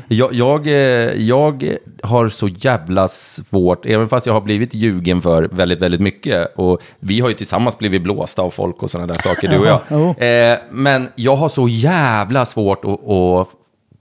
S4: Jag, jag, eh, jag har så jävla svårt, även fast jag har blivit ljugen för väldigt, väldigt mycket. Och vi har ju tillsammans blivit blåsta av folk och sådana där saker, du och jag. Eh, Men jag har så jävla svårt att, att,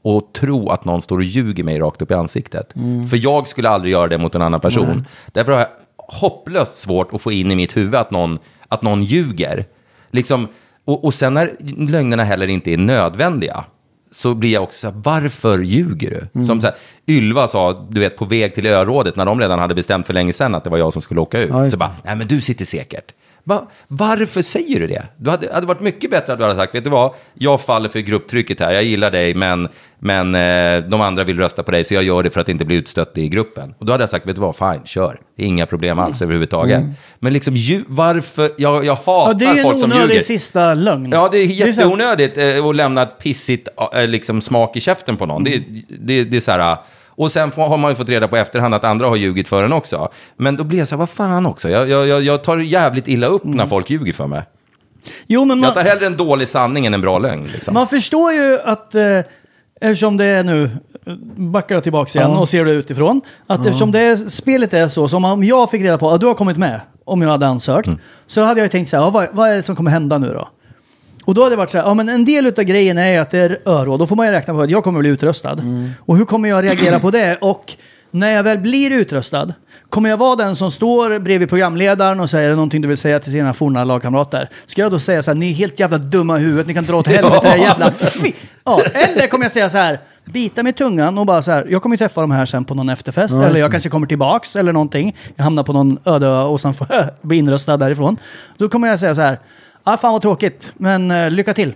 S4: att tro att någon står och ljuger mig rakt upp i ansiktet. För jag skulle aldrig göra det mot en annan person. Därför har jag hopplöst svårt att få in i mitt huvud att någon, att någon ljuger. Liksom, och, och sen när lögnerna heller inte är nödvändiga så blir jag också så här, varför ljuger du?
S1: Mm.
S4: Som så här, Ylva sa, du vet, på väg till örådet när de redan hade bestämt för länge sedan att det var jag som skulle åka ut.
S5: Ja, just
S4: så
S5: det.
S4: bara, nej men du sitter säkert. Va, varför säger du det? Du hade, hade varit mycket bättre att du hade sagt, vet du vad, jag faller för grupptrycket här, jag gillar dig, men, men eh, de andra vill rösta på dig, så jag gör det för att inte bli utstött i gruppen. Och då hade jag sagt, vet du vad, fine, kör. Inga problem alls
S1: Mm.
S4: överhuvudtaget. Men liksom, lju- varför, jag, jag hatar
S1: Ja, det är ju
S4: folk
S1: en
S4: som
S1: onödig
S4: ljuger.
S1: sista lögn.
S4: Ja, det är
S1: ju Mm. så här-
S4: jätteonödigt eh, att lämna ett pissigt eh, liksom, smak i käften på någon. Det, är- det, det är så här... eh, Och sen får, har man ju fått reda på efterhand att andra har ljugit för en också. Men då blir jag så här, vad fan också. Jag, jag, jag, jag tar jävligt illa upp
S1: Mm.
S4: när folk ljuger för mig.
S1: Jo, men man,
S4: Jag tar hellre en dålig sanning än en bra lögn. Liksom.
S1: Man förstår ju att, eh, eftersom det är nu, backar jag tillbaka igen
S5: Ja.
S1: och ser det utifrån, att eftersom det är, spelet är så, som om jag fick reda på att du har kommit med, om jag hade ansökt, så hade jag ju tänkt så här, ja, vad, vad är det som kommer hända nu då? Och då hade det varit så här, ja men en del utav grejen är ju att det är öråd, då får man ju räkna på att jag kommer bli utröstad. Och hur kommer jag reagera på det? Och när jag väl blir utröstad, kommer jag vara den som står bredvid programledaren och säger "Är det någonting du vill säga till sina forna lagkamrater? Ska jag då säga så här, ni är helt jävla dumma i huvudet, ni kan dra åt helvete era jävla fi-" ja, Eller kommer jag säga så här, bita mig i tungan och bara så här, jag kommer ju träffa de här sen på någon efterfest, eller jag kanske kommer tillbaks eller någonting. Jag hamnar på någon öde ö och sen får jag bli inröstad därifrån. Då kommer jag säga så här, ah, fan vad tråkigt, men eh, lycka till.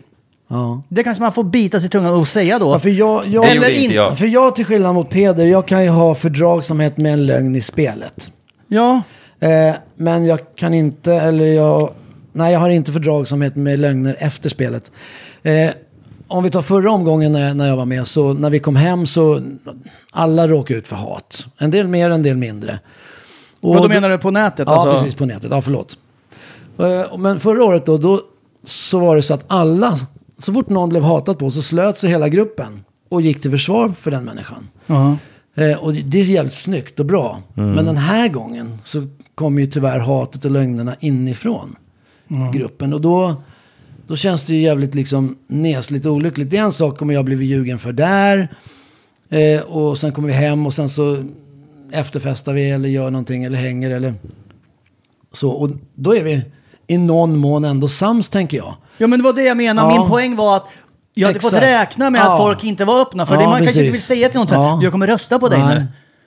S5: Ja.
S1: Det kanske man får bita sig i tungan och säga då.
S5: Ja, för, jag, jag,
S4: Det gjorde inte jag.
S5: för jag, till skillnad mot Peder, jag kan ju ha fördragsamhet med en lögn i spelet.
S1: Ja,
S5: Eh, men jag kan inte, eller jag... Nej, jag har inte fördragsamhet med lögner efter spelet. Eh, om vi tar förra omgången när, när jag var med, så när vi kom hem så... Alla råkade ut för hat. En del mer, en del mindre. Och
S1: vad då
S5: då-
S1: menar du på nätet?
S5: Ja,
S1: alltså?
S5: precis. På nätet. Ja, förlåt. Eh, Men förra året då, då, så var det så att alla, så fort någon blev hatad på så slöt sig hela gruppen och gick till försvar för den människan.
S1: Ja.
S5: Eh, Och det är jävligt snyggt och bra.
S1: Mm.
S5: Men den här gången så kommer ju tyvärr hatet och lögnerna inifrån gruppen. Och då, då känns det ju jävligt liksom nesligt och olyckligt. Det är en sak om jag blivit ljugen för där. Eh, och sen kommer vi hem och sen så efterfestar vi eller gör någonting eller hänger eller så. Och då är vi i någon mån ändå sams tänker jag.
S1: ja, men det var det jag menade.
S5: Ja.
S1: Min poäng var att jag hade fått
S5: Exakt.
S1: räkna med att
S5: Ja.
S1: folk inte var öppna för det.
S5: Ja,
S1: Man kanske inte vill
S5: precis.
S1: säga till någon
S5: Ja.
S1: jag kommer rösta på dig
S5: Nej.
S1: nu.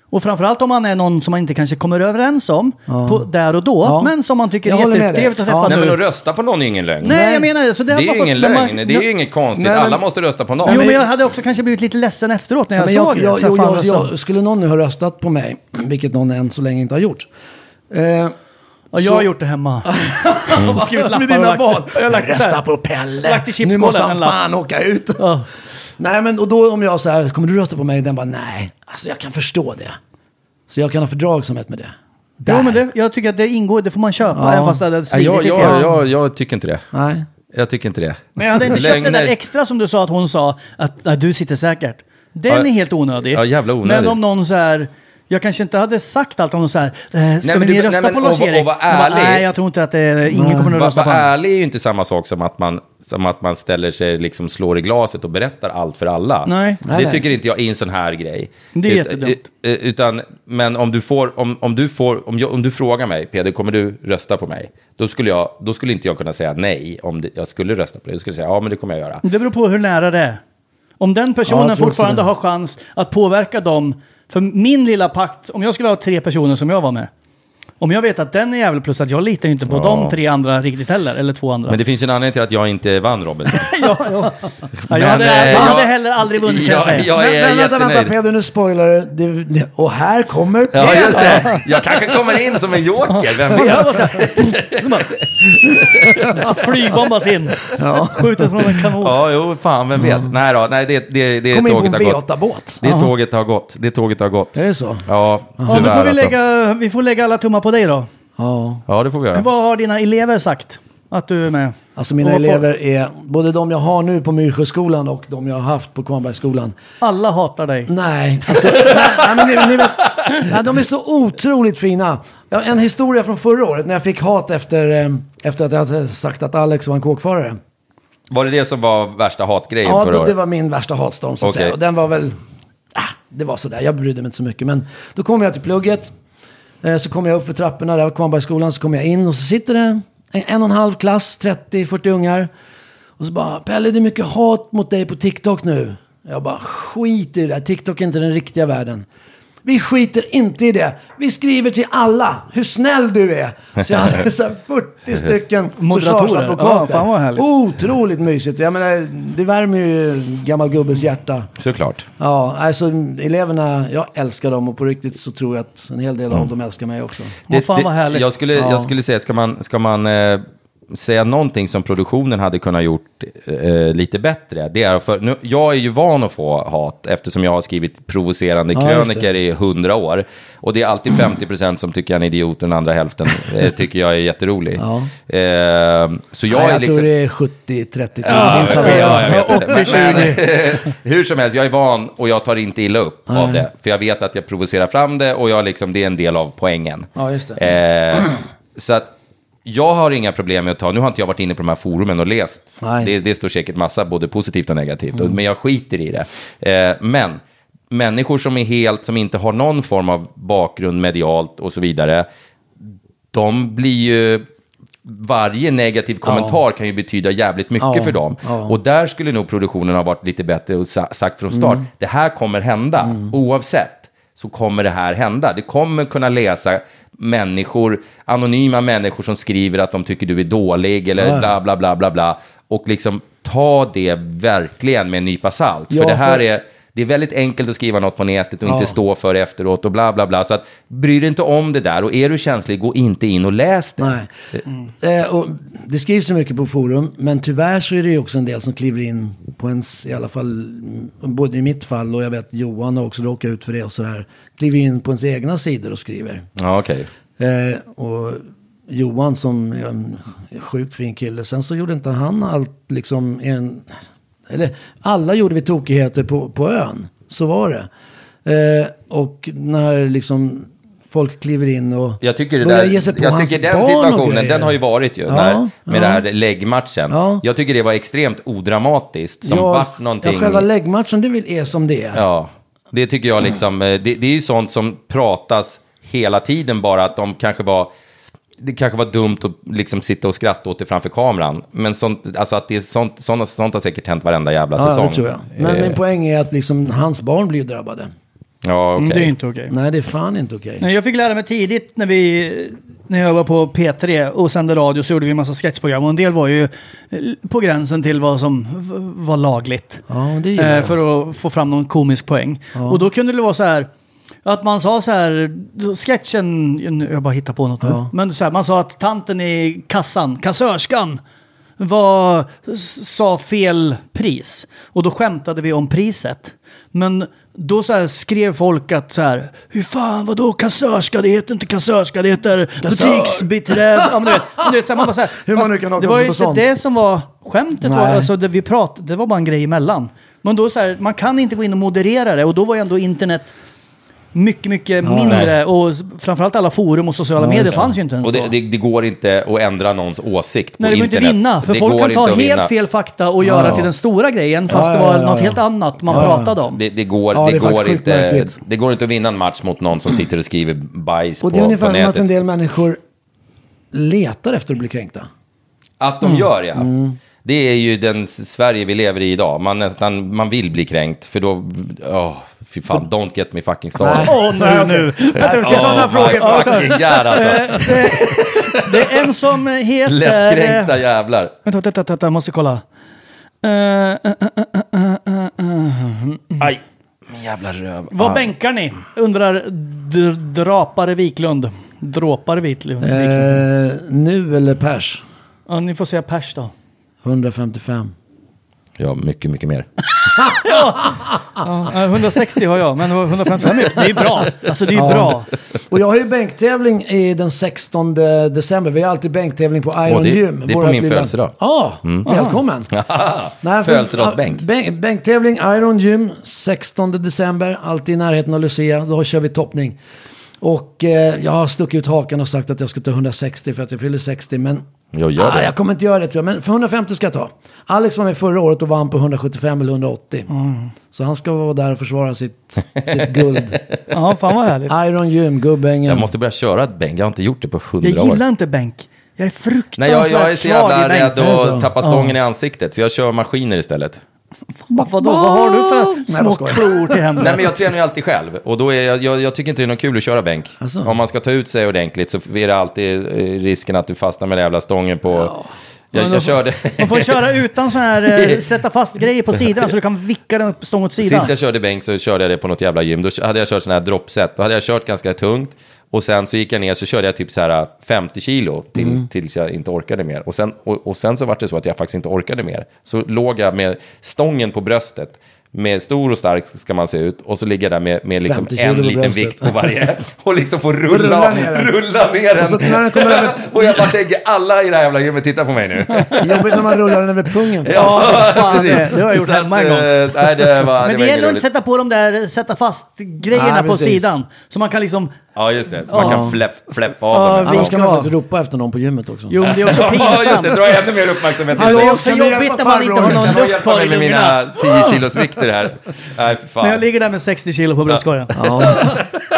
S1: Och framförallt om man är någon som man inte kanske kommer överens om på, där och då,
S5: Ja.
S1: men som man tycker
S5: Jag
S1: är
S5: håller med
S1: jättetrevligt
S5: dig.
S1: att träffa
S5: Ja.
S4: Nej, men
S1: nu.
S4: att rösta på någon är ju ingen lögn.
S1: Nej, jag menar det. Så det
S4: det
S1: hade
S4: är
S1: man
S4: ju
S1: fått-
S4: ingen
S1: men man-
S4: lögn, det är ju inget konstigt.
S5: Nej, men-
S4: Alla måste rösta på någon.
S1: Jo, men
S5: men-
S1: jag hade också kanske blivit lite ledsen efteråt när jag
S5: men
S1: såg det.
S5: jag,
S1: Så här,
S5: jag,
S1: fan,
S5: jag,
S1: rösta.
S5: jag, Skulle någon nu ha röstat på mig, vilket någon än så länge inte har gjort. Eh,
S1: Ja, jag har gjort det hemma. Skrivit lappar
S5: Mm. med dina
S1: och lagt-
S5: barn.
S1: Jag har lagt det så här.
S5: Rösta på Pelle.
S1: Lagt i
S5: Nu
S1: chipskålen
S5: måste han
S1: en lapp.
S5: fan åka ut.
S1: Ja.
S5: Nej men och då om jag så här, kommer du rösta på mig? Den bara nej. Alltså jag kan förstå det. Så jag kan ha fördragsamhet med det. Där.
S1: Jo, men det, jag tycker att det ingår, det får man köpa,
S5: Ja.
S1: även fast det hade
S4: Nej,
S1: svidit
S4: jag,
S1: lite
S4: jag,
S1: grann.
S4: jag, jag, tycker inte det.
S5: Nej.
S4: Jag tycker inte det.
S1: Men jag hade inte köpt den
S4: Lögner-
S1: där extra som du sa att hon sa, att nej, du sitter säkert. Den
S4: Ja.
S1: är helt onödig.
S4: Ja, jävla onödig.
S1: Men om någon så här, Jag kanske inte hade sagt allt om de så här. eh, Ska
S4: Nej, men
S1: vi
S4: du-
S1: rösta
S4: nej, men
S1: på
S4: och- och
S1: Lars-Erik?
S4: vara
S1: Jag bara,
S4: ärlig.
S1: Nej, jag tror inte att det är, ingen kommer att
S4: Att
S1: rösta på
S4: vara
S1: honom.
S4: ärlig är ju inte samma sak som att man, som att man ställer sig, liksom slår i glaset och berättar allt för alla.
S1: Nej.
S4: Det
S5: Nej, nej.
S4: tycker inte jag är en sån här grej.
S1: Det är
S4: Ut-
S1: jättedumt.
S4: eh, Utan, men om du, får, om, om, du får, om, jag, om du frågar mig, Peder, kommer du rösta på mig? Då skulle, jag, då skulle inte jag kunna säga nej om det, jag skulle rösta på dig. Då skulle jag säga, ja men det kommer jag göra.
S1: Det beror på hur nära det är. Om den
S5: Ja,
S1: personen
S5: jag tror också
S1: fortfarande
S5: det.
S1: har chans att påverka dem. För min lilla pakt, om jag skulle ha tre personer som jag var med. Om jag vet att den är jävel plus att jag litar ju inte på
S4: Ja.
S1: de tre andra riktigt heller, eller två andra.
S4: Men det finns ju en anledning till att jag inte vann Robinson.
S1: ja, ja. Ja, jag,
S4: Men,
S1: hade,
S4: eh,
S1: jag hade
S4: jag-
S1: heller aldrig vunnit kan jag
S4: jag-
S1: säga.
S4: jag- är
S5: men, vänta, vänta
S4: jättenöjd.
S5: Peder, nu spoilar du. Det- det- Och här kommer
S4: Ja,
S5: Peder.
S4: just det. Jag kanske kommer in som en joker, vem vet?
S1: Jag var så här, så bara, så flygbombas in. Skjutet från en kanon.
S4: Ja, jo, fan, vem vet. Nej då, nej, det, det, det
S5: Mm. Kom in på en
S4: tåget har gått.
S5: V8-båt.
S4: Det tåget har gått. Det tåget har gått.
S5: Är det så?
S4: Ja,
S1: Ja, nu får
S4: tyvärr
S1: vi,
S4: alltså.
S1: lägga, vi får lägga alla tummar på dig då.
S5: Ja.
S4: Ja, det får vi göra.
S1: Vad har dina elever sagt att du är med?
S5: Alltså mina
S1: Och vad får-
S5: elever är, både de jag har nu på Myrsjöskolan och de jag har haft på Kvarnbergsskolan.
S1: Alla hatar dig.
S5: Nej, alltså, nej, nej, men ni, ni vet, nej, de är så otroligt fina. Ja, En historia från förra året när jag fick hat efter, eh, efter att jag hade sagt att Alex var en kåkfarare.
S4: Var det det som var värsta hatgrejen
S5: Ja,
S4: förra
S5: då,
S4: året?
S5: det var min värsta hatstorm så att
S4: Okej.
S5: säga. Och den var väl, ah, det var sådär, jag brydde mig inte så mycket. Men då kom jag till plugget, eh, så kom jag upp för trapporna där på Kvarnbergsskolan, så kom jag in och så sitter det en, en och en halv klass, 30-40 ungar. Och så bara, Pelle det är mycket hat mot dig på TikTok nu. Jag bara, skit i det där, TikTok är inte den riktiga världen. Vi skiter inte i det. Vi skriver till alla hur snäll du är. Så jag hade så här 40 stycken
S1: Moderatorer. Ja, fan vad härligt.
S5: Otroligt mysigt. Jag menar, det värmer ju gammal gubbes hjärta.
S4: Såklart.
S5: Ja, alltså eleverna, jag älskar dem och på riktigt så tror jag att en hel
S1: Mm.
S5: del av dem älskar mig också.
S1: Vad fan vad härligt.
S4: Jag skulle,
S5: Ja.
S4: jag skulle säga, ska man, ska man eh, säga någonting som produktionen hade kunnat gjort eh, lite bättre? Det är för, nu, jag är ju van att få hat eftersom jag har skrivit provocerande
S5: Ja, just det.
S4: kröniker i hundra år. Och det är alltid 50% som tycker jag är en idiot och den andra hälften eh, tycker jag är jätterolig. Eh, så jag
S5: Jag,
S4: är
S5: jag
S4: liksom...
S5: tror det är 70-30 till
S4: Ja,
S5: din
S4: ja,
S5: favör.
S4: jag vet inte. Men-
S1: 80-20.
S4: men, Hur som helst, jag är van och jag tar inte illa upp av det. För jag vet att jag provocerar fram det och jag liksom, det är en del av poängen.
S5: Ja, just
S4: Eh, så att jag har inga problem med att ta, nu har inte jag varit inne på de här forumen och läst.
S5: Nej. Mm.
S4: Det, det står säkert massa både positivt och negativt, och- men jag skiter i det. Eh, men människor som är helt, som inte har någon form av bakgrund medialt och så vidare, de blir ju... Varje negativ kommentar kan ju betyda jävligt mycket
S5: Ja,
S4: för dem.
S5: ja.
S4: Och där skulle nog produktionen ha varit lite bättre och sa- sagt från start,
S5: Mm.
S4: det här kommer hända, oavsett så kommer det här hända. Det kommer kunna läsa människor, anonyma människor som skriver att de tycker du är dålig eller
S5: Ja, ja.
S4: bla bla bla bla bla. Och liksom ta det verkligen med en nypa salt.
S5: Ja,
S4: för det här
S5: för-
S4: är, det är väldigt enkelt att skriva något på nätet och
S5: Ja.
S4: inte stå för det efteråt och bla bla bla. Så att, bry dig inte om det där och är du känslig, gå inte in och läs det.
S5: Nej.
S4: Mm.
S5: Eh, och det skrivs så mycket på forum, men tyvärr så är det ju också en del som kliver in på ens, i alla fall mm, både i mitt fall och jag vet Johan har också råkat ut för det och sådär, kliver in på ens egna sidor och skriver.
S4: Ja, okej.
S5: Eh, och Johan som är en sjukt fin kille. Sen så gjorde inte han allt liksom en... Eller alla gjorde vi tokigheter på, på ön. Så var det. Eh, och när liksom folk kliver in och
S4: Jag tycker, det
S5: börjar
S4: där,
S5: ge sig på
S4: jag
S5: hans
S4: tycker den
S5: barn och
S4: situationen,
S5: grejer.
S4: den har ju varit ju,
S5: Ja,
S4: när, med
S5: ja.
S4: den här läggmatchen.
S5: Ja.
S4: Jag tycker det var extremt odramatiskt, som
S5: Ja,
S4: vart någonting...
S5: Ja, själva läggmatchen det är väl är som det är.
S4: Ja, det tycker jag liksom, eh, det, det är ju sånt som pratas hela tiden bara att de kanske var, det kanske var dumt att liksom sitta och skratta åt det framför kameran. Men sånt, alltså att det är sånt, sånt, sånt har säkert hänt varenda jävla
S5: Ja,
S4: säsong.
S5: det tror jag. Men
S4: Eh,
S5: min poäng är att liksom, hans barn blir ju drabbade.
S4: Ja, okej.
S1: Mm, Det är inte okej.
S5: Nej, det är fan inte okej.
S1: Nej, Jag fick lära mig tidigt när, vi, när jag var på P3 och sände radio så gjorde vi en massa sketchprogram och en del var ju eh, på gränsen till vad som v- var lagligt.
S5: Ja, det gillar jag.
S1: Eh, För att få fram någon komisk poäng. Och då kunde det vara så här att man sa så här, då- sketchen, nu- jag bara hittar på något nu, men så här, man sa att tanten i kassan, kassörskan, var, s- sa fel pris. Och då skämtade vi om priset. Men då så här skrev folk att så här, hur fan vadå kassörska, det heter inte kassörska, det heter
S5: Kassör.
S1: butiksbiträde. Ja, men du vet, men du vet, så här, man bara så här,
S5: Hur man nu
S1: fast
S5: kan haka
S1: det var
S5: upp
S1: ju
S5: sig på
S1: inte
S5: sånt.
S1: det som var skämtet, var,
S5: Nej.
S1: alltså, det, vi pratade, det var bara en grej emellan. Men då så här, man kan inte gå in och moderera det och då var ju ändå internet mycket, mycket mindre. Och s- framförallt alla forum och sociala medier fanns ju inte ens
S4: Och det,
S1: då.
S4: det, det går inte att ändra någons åsikt på
S1: Nej, det går inte
S4: internet.
S1: att vinna. För
S4: Det
S1: folk
S4: går
S1: kan ta
S4: inte att
S1: helt
S4: vinna.
S1: fel fakta och göra
S5: ja.
S1: till den stora grejen, fast
S5: Ja,
S1: det
S5: ja,
S1: var
S5: ja,
S1: något
S5: ja.
S1: helt annat man
S5: Ja, ja.
S1: pratade om.
S4: Det, det, går,
S5: Ja, det
S4: det,
S5: är faktiskt
S4: går
S5: sjukt
S4: inte,
S5: märkligt. Mm.
S4: det går inte att vinna en match mot någon som sitter och skriver bajs på,
S5: Och det är
S4: på
S5: ungefär som att en
S4: nätet.
S5: del människor letar efter att bli kränkta.
S4: Att
S5: Mm.
S4: de gör, ja. Det är ju den s- Sverige vi lever i idag. Man, nästan, man vill bli kränkt, för då... åh, fy fan, don't get me fucking started.
S1: Åh, nej nu. Vänta, vi ska ta den här
S4: my
S1: frågan. Ja,
S4: fucking God, alltså.
S1: Det är en som heter...
S4: Lättkränkta jävlar.
S1: Vänta, vänta, vänta, vänta, jag måste kolla. Eh, eh, eh, eh, eh, eh, eh.
S4: Aj. Min jävla röv. Ah.
S1: Vad bänkar ni? Undrar d- Drapare Wiklund. Dråpare Wiklund. Wiklund.
S5: Eh, nu eller pers?
S1: Ja, ni får säga pers då.
S5: 155.
S4: Ja, mycket, mycket mer.
S1: Ja, 160 har jag, men 155 är- det är ju bra. Alltså det är ju bra.
S5: Och jag har ju bänktävling i den 16 december. Vi har alltid bänktävling på Iron
S4: det-
S5: Gym.
S4: det är på
S5: våra
S4: min
S5: klubben.
S4: födelsedag. Mm.
S5: Ja, välkommen. Nej, för-
S4: Ah, Födelsedagsbänk.
S5: ja, bänk- Bänktävling Iron Gym 16 december. Alltid i närheten av Lucia. Då kör vi toppning. Och eh, jag har stuckit ut hakan och sagt att jag ska ta 160 för att jag fyller 60. Men
S4: Jag gör
S5: Ah,
S4: det.
S5: jag kommer inte göra det tror jag. Men för 150 ska jag ta. Alex var med förra året och vann på 175 eller 180. Så han ska vara där och försvara sitt, sitt guld.
S1: Ja, fan vad härligt.
S5: Iron Gym,
S4: Jag
S5: Gubbängen.
S4: måste börja köra ett bänk. Jag har inte gjort det på hundra
S1: Jag
S4: år.
S1: gillar inte bänk. Jag är fruktansvärt
S4: Nej, jag, jag är så jävla
S1: svag i
S4: rädd
S1: bänk.
S5: Det är så.
S4: att tappa stången i ansiktet, så jag kör maskiner istället.
S1: Vadå, vad har du för
S5: jag bara
S1: små
S5: skojar.
S1: klor till händerna?
S4: Nej, men jag tränar ju alltid själv, och då är jag, jag, jag tycker inte det är något kul att köra bänk.
S5: Alltså.
S4: Om man ska ta ut sig ordentligt så är det alltid eh, risken att du fastnar med den jävla stången på...
S1: Men
S4: Jag,
S1: då
S4: jag
S1: får-
S4: körde...
S1: Man får köra utan så här, eh, sätta fast grejer på sidan så du kan vicka den upp stång åt sidan.
S4: Sist jag körde bänk så körde jag det på något jävla gym. Då hade jag kört sån här droppset. Då hade jag kört ganska tungt. Och sen så gick jag ner så körde jag typ så här 50 kilo till, tills jag inte orkade mer. Och sen, och, och sen så var det så att jag faktiskt inte orkade mer. Så låg jag med stången på bröstet. Med stor och stark ska man se ut. Och så ligger jag där med, med liksom
S5: 50 kilo
S4: en
S5: på
S4: liten
S5: bröstet.
S4: vikt på varje. Och liksom får rulla, rulla
S5: ner den.
S4: ner, rulla ner den.
S5: Och så när den kommer över-
S4: och jag bara tänker, alla i det här jävla gymmet tittar på mig nu.
S5: Jobbigt när man rullar den över pungen.
S1: Ja, fan, det-
S4: precis.
S1: det har jag gjort
S4: Så att,
S1: hemma en gång.
S4: eh, Nej, det var,
S1: Men
S4: var
S1: det
S4: inget
S1: gäller att inte
S4: roligt.
S1: sätta på de där eh, sätta fast-grejerna
S5: Nej,
S1: på
S5: precis.
S1: sidan. Så man kan liksom...
S4: Ja, just det. Så man kan fläpp, fläppa av
S1: Ja,
S4: dem.
S1: vi-
S5: Annars kan
S1: Ja.
S5: man faktiskt ropa efter någon på gymmet också.
S1: Jo, men det är också
S4: Ja, just
S1: pinsamt.
S4: det. Dra ännu mer uppmärksamhet till
S1: Det
S4: sig.
S1: är
S5: Hallå,
S1: också
S5: kan du hjälpa
S1: jobbigt när man
S5: farbror?
S1: inte har någon
S4: Kan jag
S1: luft kvar
S4: hjälpa
S1: i
S4: mig med
S1: lungorna.
S4: mina 10 kilos vikter här? Nej, för
S1: När jag
S4: fan.
S1: ligger där med 60 kilo på bröstkorgen.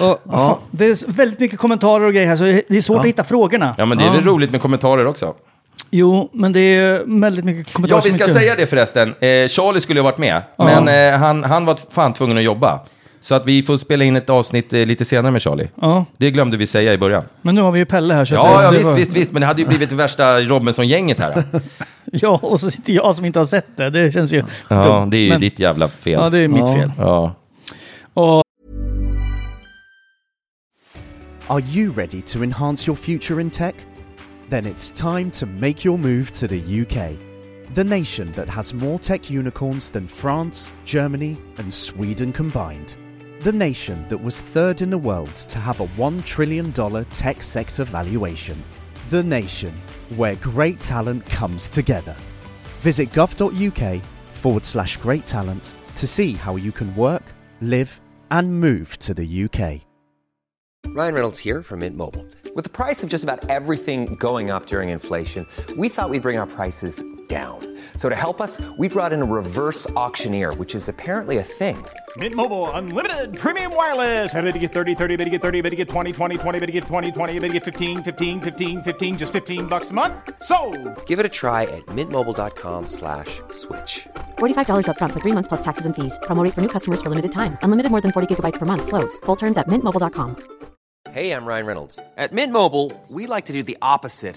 S1: Och, fan, Det är väldigt mycket kommentarer och grejer här, så det är svårt att hitta frågorna.
S4: Ja, men det är väl roligt med kommentarer också.
S1: Jo, men det är väldigt mycket kommentarer
S4: Ja, vi
S1: som
S4: ska
S1: är kul.
S4: säga det förresten. Eh, Charlie skulle ju ha varit med, men eh, han, han var fan tvungen att jobba. Så att vi får spela in ett avsnitt eh, lite senare med Charlie.
S1: Ja.
S4: Det glömde vi säga i början.
S1: Men nu har vi ju Pelle här. Så att
S4: Ja,
S1: det-
S4: ja
S1: det
S4: visst,
S1: var-
S4: visst, visst, men det hade ju blivit värsta Robinson-gänget här.
S1: Ja, och så sitter jag som inte har sett det. Det känns ju
S4: Ja,
S1: dumt,
S4: det är ju
S1: men-
S4: ditt jävla fel.
S1: Ja, det är mitt
S5: Ja.
S1: fel.
S4: Ja.
S1: Och
S2: Are you ready to enhance your future in tech? Then it's time to make your move to the UK, the nation that has more tech unicorns than France, Germany, and Sweden combined. The nation that was third in the world to have a $1 trillion tech sector valuation. The nation where great talent comes together. Visit gov.uk forward slash great talent to see how you can work, live, and move to the UK.
S3: Ryan Reynolds here from Mint Mobile. With the price of just about everything going up during inflation, we thought we'd bring our prices down. So to help us, we brought in a reverse auctioneer, which is apparently a thing.
S6: Mint Mobile unlimited premium wireless. Ready to get 30, 30, bit to get 30, bit to get 20, 20, 20, bit to get 20, 20, bit to get 15, 15, 15, 15 just 15 bucks a month. Sold.
S3: Give it a try at mintmobile.com slash switch.
S7: $45 upfront for three months plus taxes and fees. Promo rate for new customers for limited time. Unlimited more than 40 gigabytes per month. Slows. Full terms at mintmobile.com.
S3: Hey, I'm Ryan Reynolds. At Mint Mobile, we like to do the opposite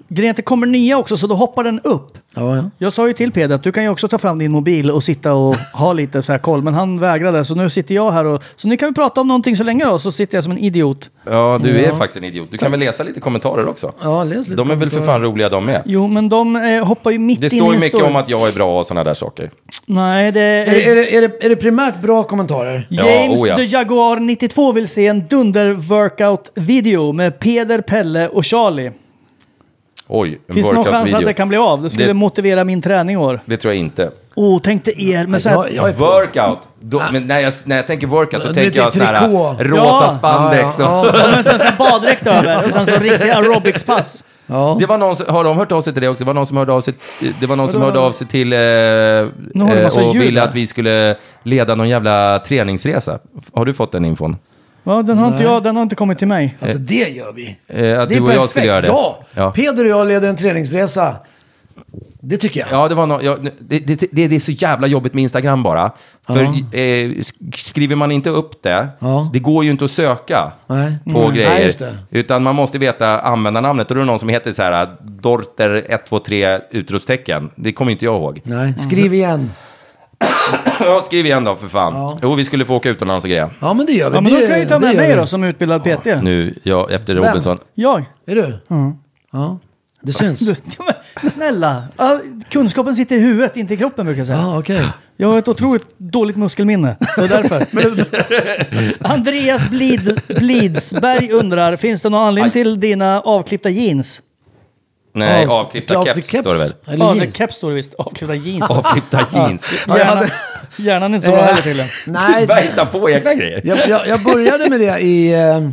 S1: Grejen är att det kommer nya också, så då hoppar den upp.
S5: Ja, ja.
S1: Jag sa ju till Peder att du kan ju också ta fram din mobil och sitta och ha lite så här koll, men han vägrade. Så nu sitter jag här och... Så nu kan vi prata om någonting så länge då, så sitter jag som en idiot.
S4: Ja, du är
S5: Ja.
S4: faktiskt en idiot. Du kan väl läsa lite kommentarer också?
S5: Ja, läs lite
S4: de är väl för
S5: kommentarer.
S4: fan roliga de med.
S1: Jo, men de eh, hoppar ju mitt in
S4: Det
S1: i en
S4: står ju mycket
S1: story.
S4: om att jag är bra och sådana där saker.
S1: Nej, det...
S5: Är, det- är, det- är, det, är det primärt bra kommentarer?
S4: Ja,
S1: James
S4: oh ja.
S1: the Jaguar 92 vill se en dunder-workout-video med Peder, Pelle och Charlie.
S4: Oj, en
S1: Finns det någon chans att
S4: workout-video.
S1: det kan bli av? Det skulle
S4: Det-
S1: motivera min träning i år.
S4: Det tror jag inte.
S1: Oh, tänkte er med så här...
S5: Jag, jag är på.
S4: Workout!
S5: Ah.
S4: Då, men när jag, när jag tänker workout, då
S5: Du
S4: tänker jag
S5: tänker
S4: sån här
S5: typ trikå.
S4: rosa
S1: Ja.
S4: spandex. och-
S5: Ja, ja,
S1: Ja, men sen så här baddräkt över och sen så riktiga aerobicspass.
S5: ja.
S4: Det var någon som, har de hört av sig till det också? Det var någon som hörde av sig, det var någon som hörde av sig till eh,
S1: det massa
S4: eh, och
S1: ljud
S4: ville
S1: här.
S4: att vi skulle leda någon jävla träningsresa. Har du fått den infon?
S1: Ja, den har inte jag, den har inte kommit till mig.
S5: Alltså det gör vi.
S4: Eh, att
S5: det
S4: du
S5: är
S4: och jag skulle göra det.
S5: Ja.
S4: Ja.
S5: Peder och jag leder en träningsresa. Det tycker jag.
S4: Ja, det var någon, ja, det, det, det, det är så jävla jobbigt med Instagram bara. För eh, sk- skriver man inte upp det,
S5: Ja.
S4: det går ju inte att söka
S5: Nej.
S4: på
S5: Mm.
S4: grejer.
S5: Nej, just det.
S4: Utan man måste veta användarnamnet. Och då är det någon som heter så här, äh, Dorter123 utropstecken. Det kommer inte jag ihåg.
S5: Nej,
S1: Mm.
S5: skriv igen.
S4: Ja, skriv igen då för fan.
S5: Ja.
S4: Jo, vi skulle få åka utomlands och grejer.
S5: Ja, men det gör vi.
S1: Ja, men då
S5: det,
S1: kan jag ju ta
S5: det
S1: med
S5: gör
S1: mig
S5: vi.
S1: då som utbildad PT.
S4: Nu, ja, efter Robinson.
S1: Jag?
S5: Är du? Ja, det syns.
S1: Mm. Du, ja, men Snälla! Ja, Kunskapen sitter i huvudet, inte i kroppen brukar jag säga.
S5: Ja, okej.
S1: Jag har ett otroligt dåligt muskelminne. Det är därför. Andreas Blid, Blidsberg undrar, finns det någon anledning till dina avklippta jeans?
S4: Nej,
S5: Ja,
S4: avklippta
S5: avklippta
S4: keps står det väl.
S5: Eller
S1: ja,
S5: jeans.
S1: det keps står det visst. Avklippta jeans.
S4: Avklippta jeans.
S5: Ja, jag
S1: Hjärnan,
S5: hade-
S1: hjärnan är inte så bra
S5: Eh,
S1: heller tydligen.
S4: Du
S5: Nej,
S4: bara hittar på egna grejer.
S5: jag, jag, jag började med det i, eh,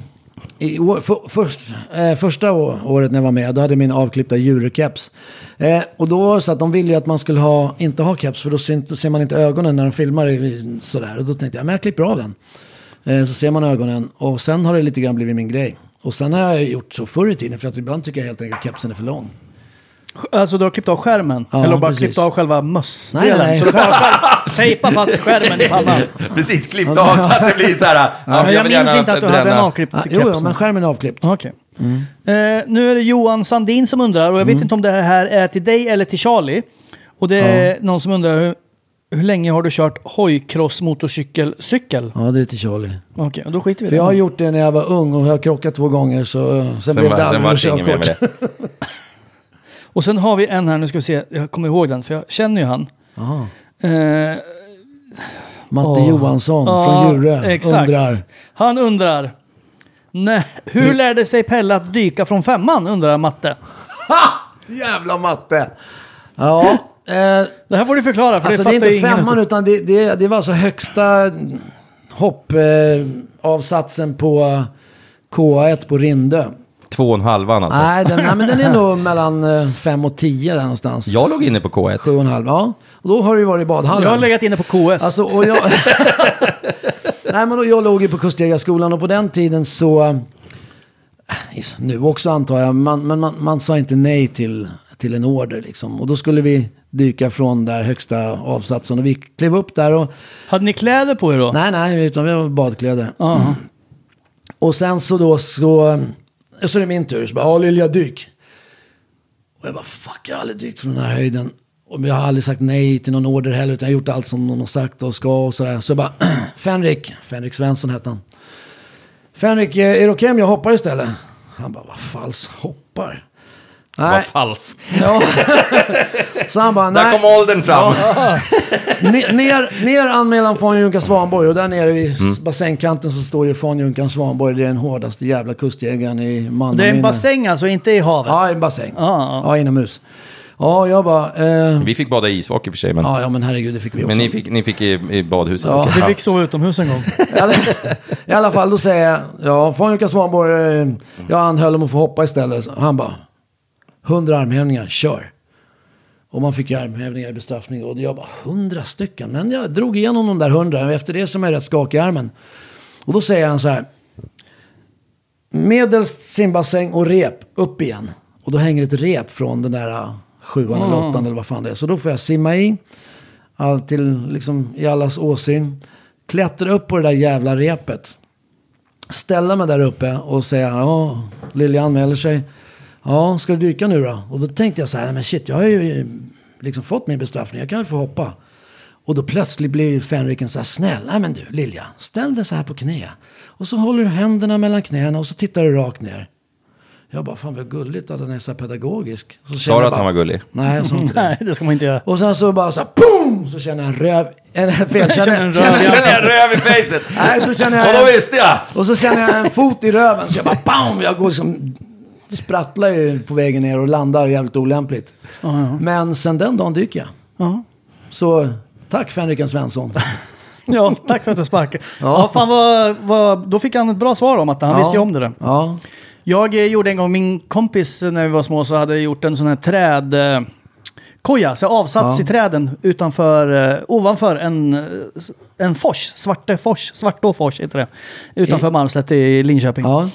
S5: i år, för, först, eh, första å- året när jag var med. Då hade jag min avklippta djurkeps. Eh, och då var det så att de ville ju att man skulle ha, inte ha keps för då syn, ser man inte ögonen när de filmar i- sådär. Och då tänkte jag, men jag klipper av den. Eh, så ser man ögonen. Och sen har det lite grann blivit min grej. Och sen har jag gjort så förr i tiden för att ibland tycker jag helt enkelt att kepsen är för lång.
S1: Alltså du har klippt av skärmen?
S5: Ja,
S1: Eller bara
S5: precis.
S1: klippt av själva mössdelen?
S5: Nej, nej, nej.
S1: Så du bara tejpar fast skärmen i pannan?
S4: Precis, klippt av så att det blir så här. ja,
S1: jag
S4: vill
S1: minns
S4: gärna
S1: inte att du hade en
S4: bränna.
S1: avklippt
S5: Ah,
S1: keps.
S5: jo, jo, men Mm. skärmen är avklippt.
S1: Okej. Eh, nu är det Johan Sandin som undrar, och jag
S5: Mm.
S1: vet inte om det här är till dig eller till Charlie. Och det är någon som undrar, hur, hur länge har du kört hojcross motorcykel cykel?
S5: Ja, det är till Charlie.
S1: Okej, och då skiter vi i
S5: För
S1: det.
S5: jag har gjort det när jag var ung och jag har krockat två gånger så eh, sen, sen blev
S4: var-
S5: det aldrig något
S4: var det ingen mer
S5: körkort.
S4: med det.
S1: Och sen har vi en här, nu ska vi se, jag kommer ihåg den, för jag känner ju han. Eh,
S5: Matte
S1: Åh.
S5: Johansson
S1: ja,
S5: från Djurö
S1: exakt.
S5: undrar.
S1: Han undrar, nej, hur lärde sig Pelle att dyka från femman, undrar Matte.
S5: Jävla Matte! Ja, eh,
S1: Det här får du förklara, för
S5: alltså
S1: det
S5: det är
S1: fattar ju
S5: inte
S1: ingen.
S5: femman utan det, det, det var alltså högsta hoppavsatsen eh, avsatsen på eh, KA1 på Rindö.
S4: Två och en halvan alltså.
S5: Nej, den, nej, men den är nog mellan 5 och 10 där någonstans.
S4: Jag låg inne på K1.
S5: Sju och en halv, ja. Och då har du ju varit i badhallen.
S1: Jag har legat inne på KS.
S5: Alltså, och jag... Nej, men då- jag låg ju på Kustjägarskolan och på den tiden så... eh, Nu också antar jag, man, men man, man sa inte nej till, till en order liksom. Och då skulle vi dyka från där högsta avsatsen och vi klev upp där och...
S1: Hade ni kläder på er då?
S5: Nej, Mm. nej, utan vi var badkläder.
S1: Ja.
S5: Och sen så då så... Så är det min tur. Så bara, ja Lilja, dyk. Och jag bara, fuck, jag har aldrig dykt från den här höjden. Och jag har aldrig sagt nej till någon order heller, utan jag har gjort allt som någon har sagt och ska och sådär. Så jag bara, Fenrik, Fenrik Svensson hette han. Fenrik, eh, är det okej om jag hoppar istället? Han bara, vad fals hoppar?
S4: Vad
S5: Nej.
S4: falskt.
S5: Ja. så han bara,
S4: Där
S5: nej.
S4: kom åldern fram.
S5: Ne- ner, ner anmälan från Junkan Svanborg och där nere vid
S4: Mm.
S5: s- bassängkanten så står ju från Junkan Svanborg. Det är den hårdaste jävla kustjägaren i
S1: Det är en
S5: mannaminne.
S1: bassäng alltså, inte i havet?
S5: Ja, i en bassäng.
S1: ja.
S5: Ja, inomhus. Ja, jag bara... Eh,
S4: Vi fick bada i isvak i och för sig, men,
S5: ja, ja, men herregud, det fick vi också.
S4: men ni, fick, ni fick i, i badhuset.
S5: Ja.
S4: Okej.
S1: Vi fick sova utomhus en gång.
S5: I alla- I alla fall, då säger jag, ja, från Jukka Svanborg, eh, jag anhöll om att få hoppa istället. Så Han bara, 100 armhävningar, kör. Och man fick ju armhävningar i bestraffning och jag bara, 100 stycken. Men jag drog igenom de där 100 och efter det så är jag rätt skakig i armen. Och då säger han så här, medelst simbassäng och rep, upp igen. Och då hänger ett rep från den där eh, sjuan eller åttan eller vad fan det är. Så då får jag simma i all till, liksom, i allas åsyn. Klättra upp på det där jävla repet. Ställa mig där uppe och säga ja, Lilja anmäler sig. ja, ska du dyka nu då? Och då tänkte jag så här, nej men shit, jag har ju eh, liksom fått min bestraffning, jag kan väl få hoppa. Och då plötsligt blir ju fänriken så här snäll. Nej men du Lilja, ställ dig så här på knä. Och så håller du händerna mellan knäna och så tittar du rakt ner. Jag bara, fan vad gulligt att han är så här pedagogisk. Så känner
S4: du
S5: jag
S4: att
S5: bara,
S4: han var gullig?
S5: Nej, jag sa inte det.
S1: Nej, det ska man inte göra.
S5: Och sen så bara så här, boom! Så känner jag en röv, en fel,
S1: Jag känner en röv i
S4: Känner jag röv i facet?
S5: Nej, så känner
S4: Och då
S5: jag en,
S4: visste jag!
S5: och så känner jag en fot i röven. Så jag bara, bam! Jag går som sprattlar ju på vägen ner och landar jävligt olämpligt. Men sen den dagen dyker jag.
S1: Ja.
S5: Så tack Fenriken Svensson.
S1: Ja, tack för att du sparkade. Ja. fan vad, vad, då fick han ett bra svar om att han visste ju om det där.
S5: Ja.
S1: Jag eh, gjorde en gång, min kompis eh, när vi var små så hade gjort en sån här träd... Eh, koja, så avsats
S5: Ja.
S1: i träden utanför, eh, ovanför en, eh, s- en fors, Svartefors, Svartåfors heter det. Utanför Malmslätt i Linköping.
S5: Ja.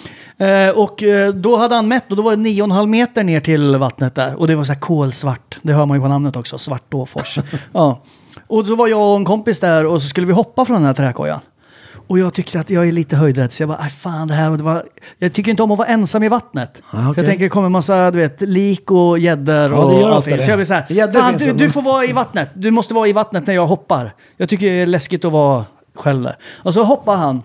S1: Eh, och eh, då hade han mätt och då var det 9,5 meter ner till vattnet där. Och det var så här kolsvart. Det hör man ju på namnet också, Svartåfors. ja. Och så var jag och en kompis där och så skulle vi hoppa från den här träkojan. Och jag tyckte att jag är lite höjdrädd, så jag bara, "Aj, fan det här. Och det var, jag tycker inte om att vara ensam i vattnet.
S5: Ah,
S1: För
S5: okej.
S1: Jag tänker det kommer en massa, du vet, lik och gäddor
S5: Ja, det gör
S1: och
S5: ofta
S1: allting.
S5: det.
S1: Så jag blir så här,
S5: Gäddor
S1: fan,
S5: finns
S1: du,
S5: det,
S1: du
S5: men-
S1: får vara i vattnet. Du måste vara i vattnet när jag hoppar. Jag tycker det är läskigt att vara själv där. Och så hoppar han.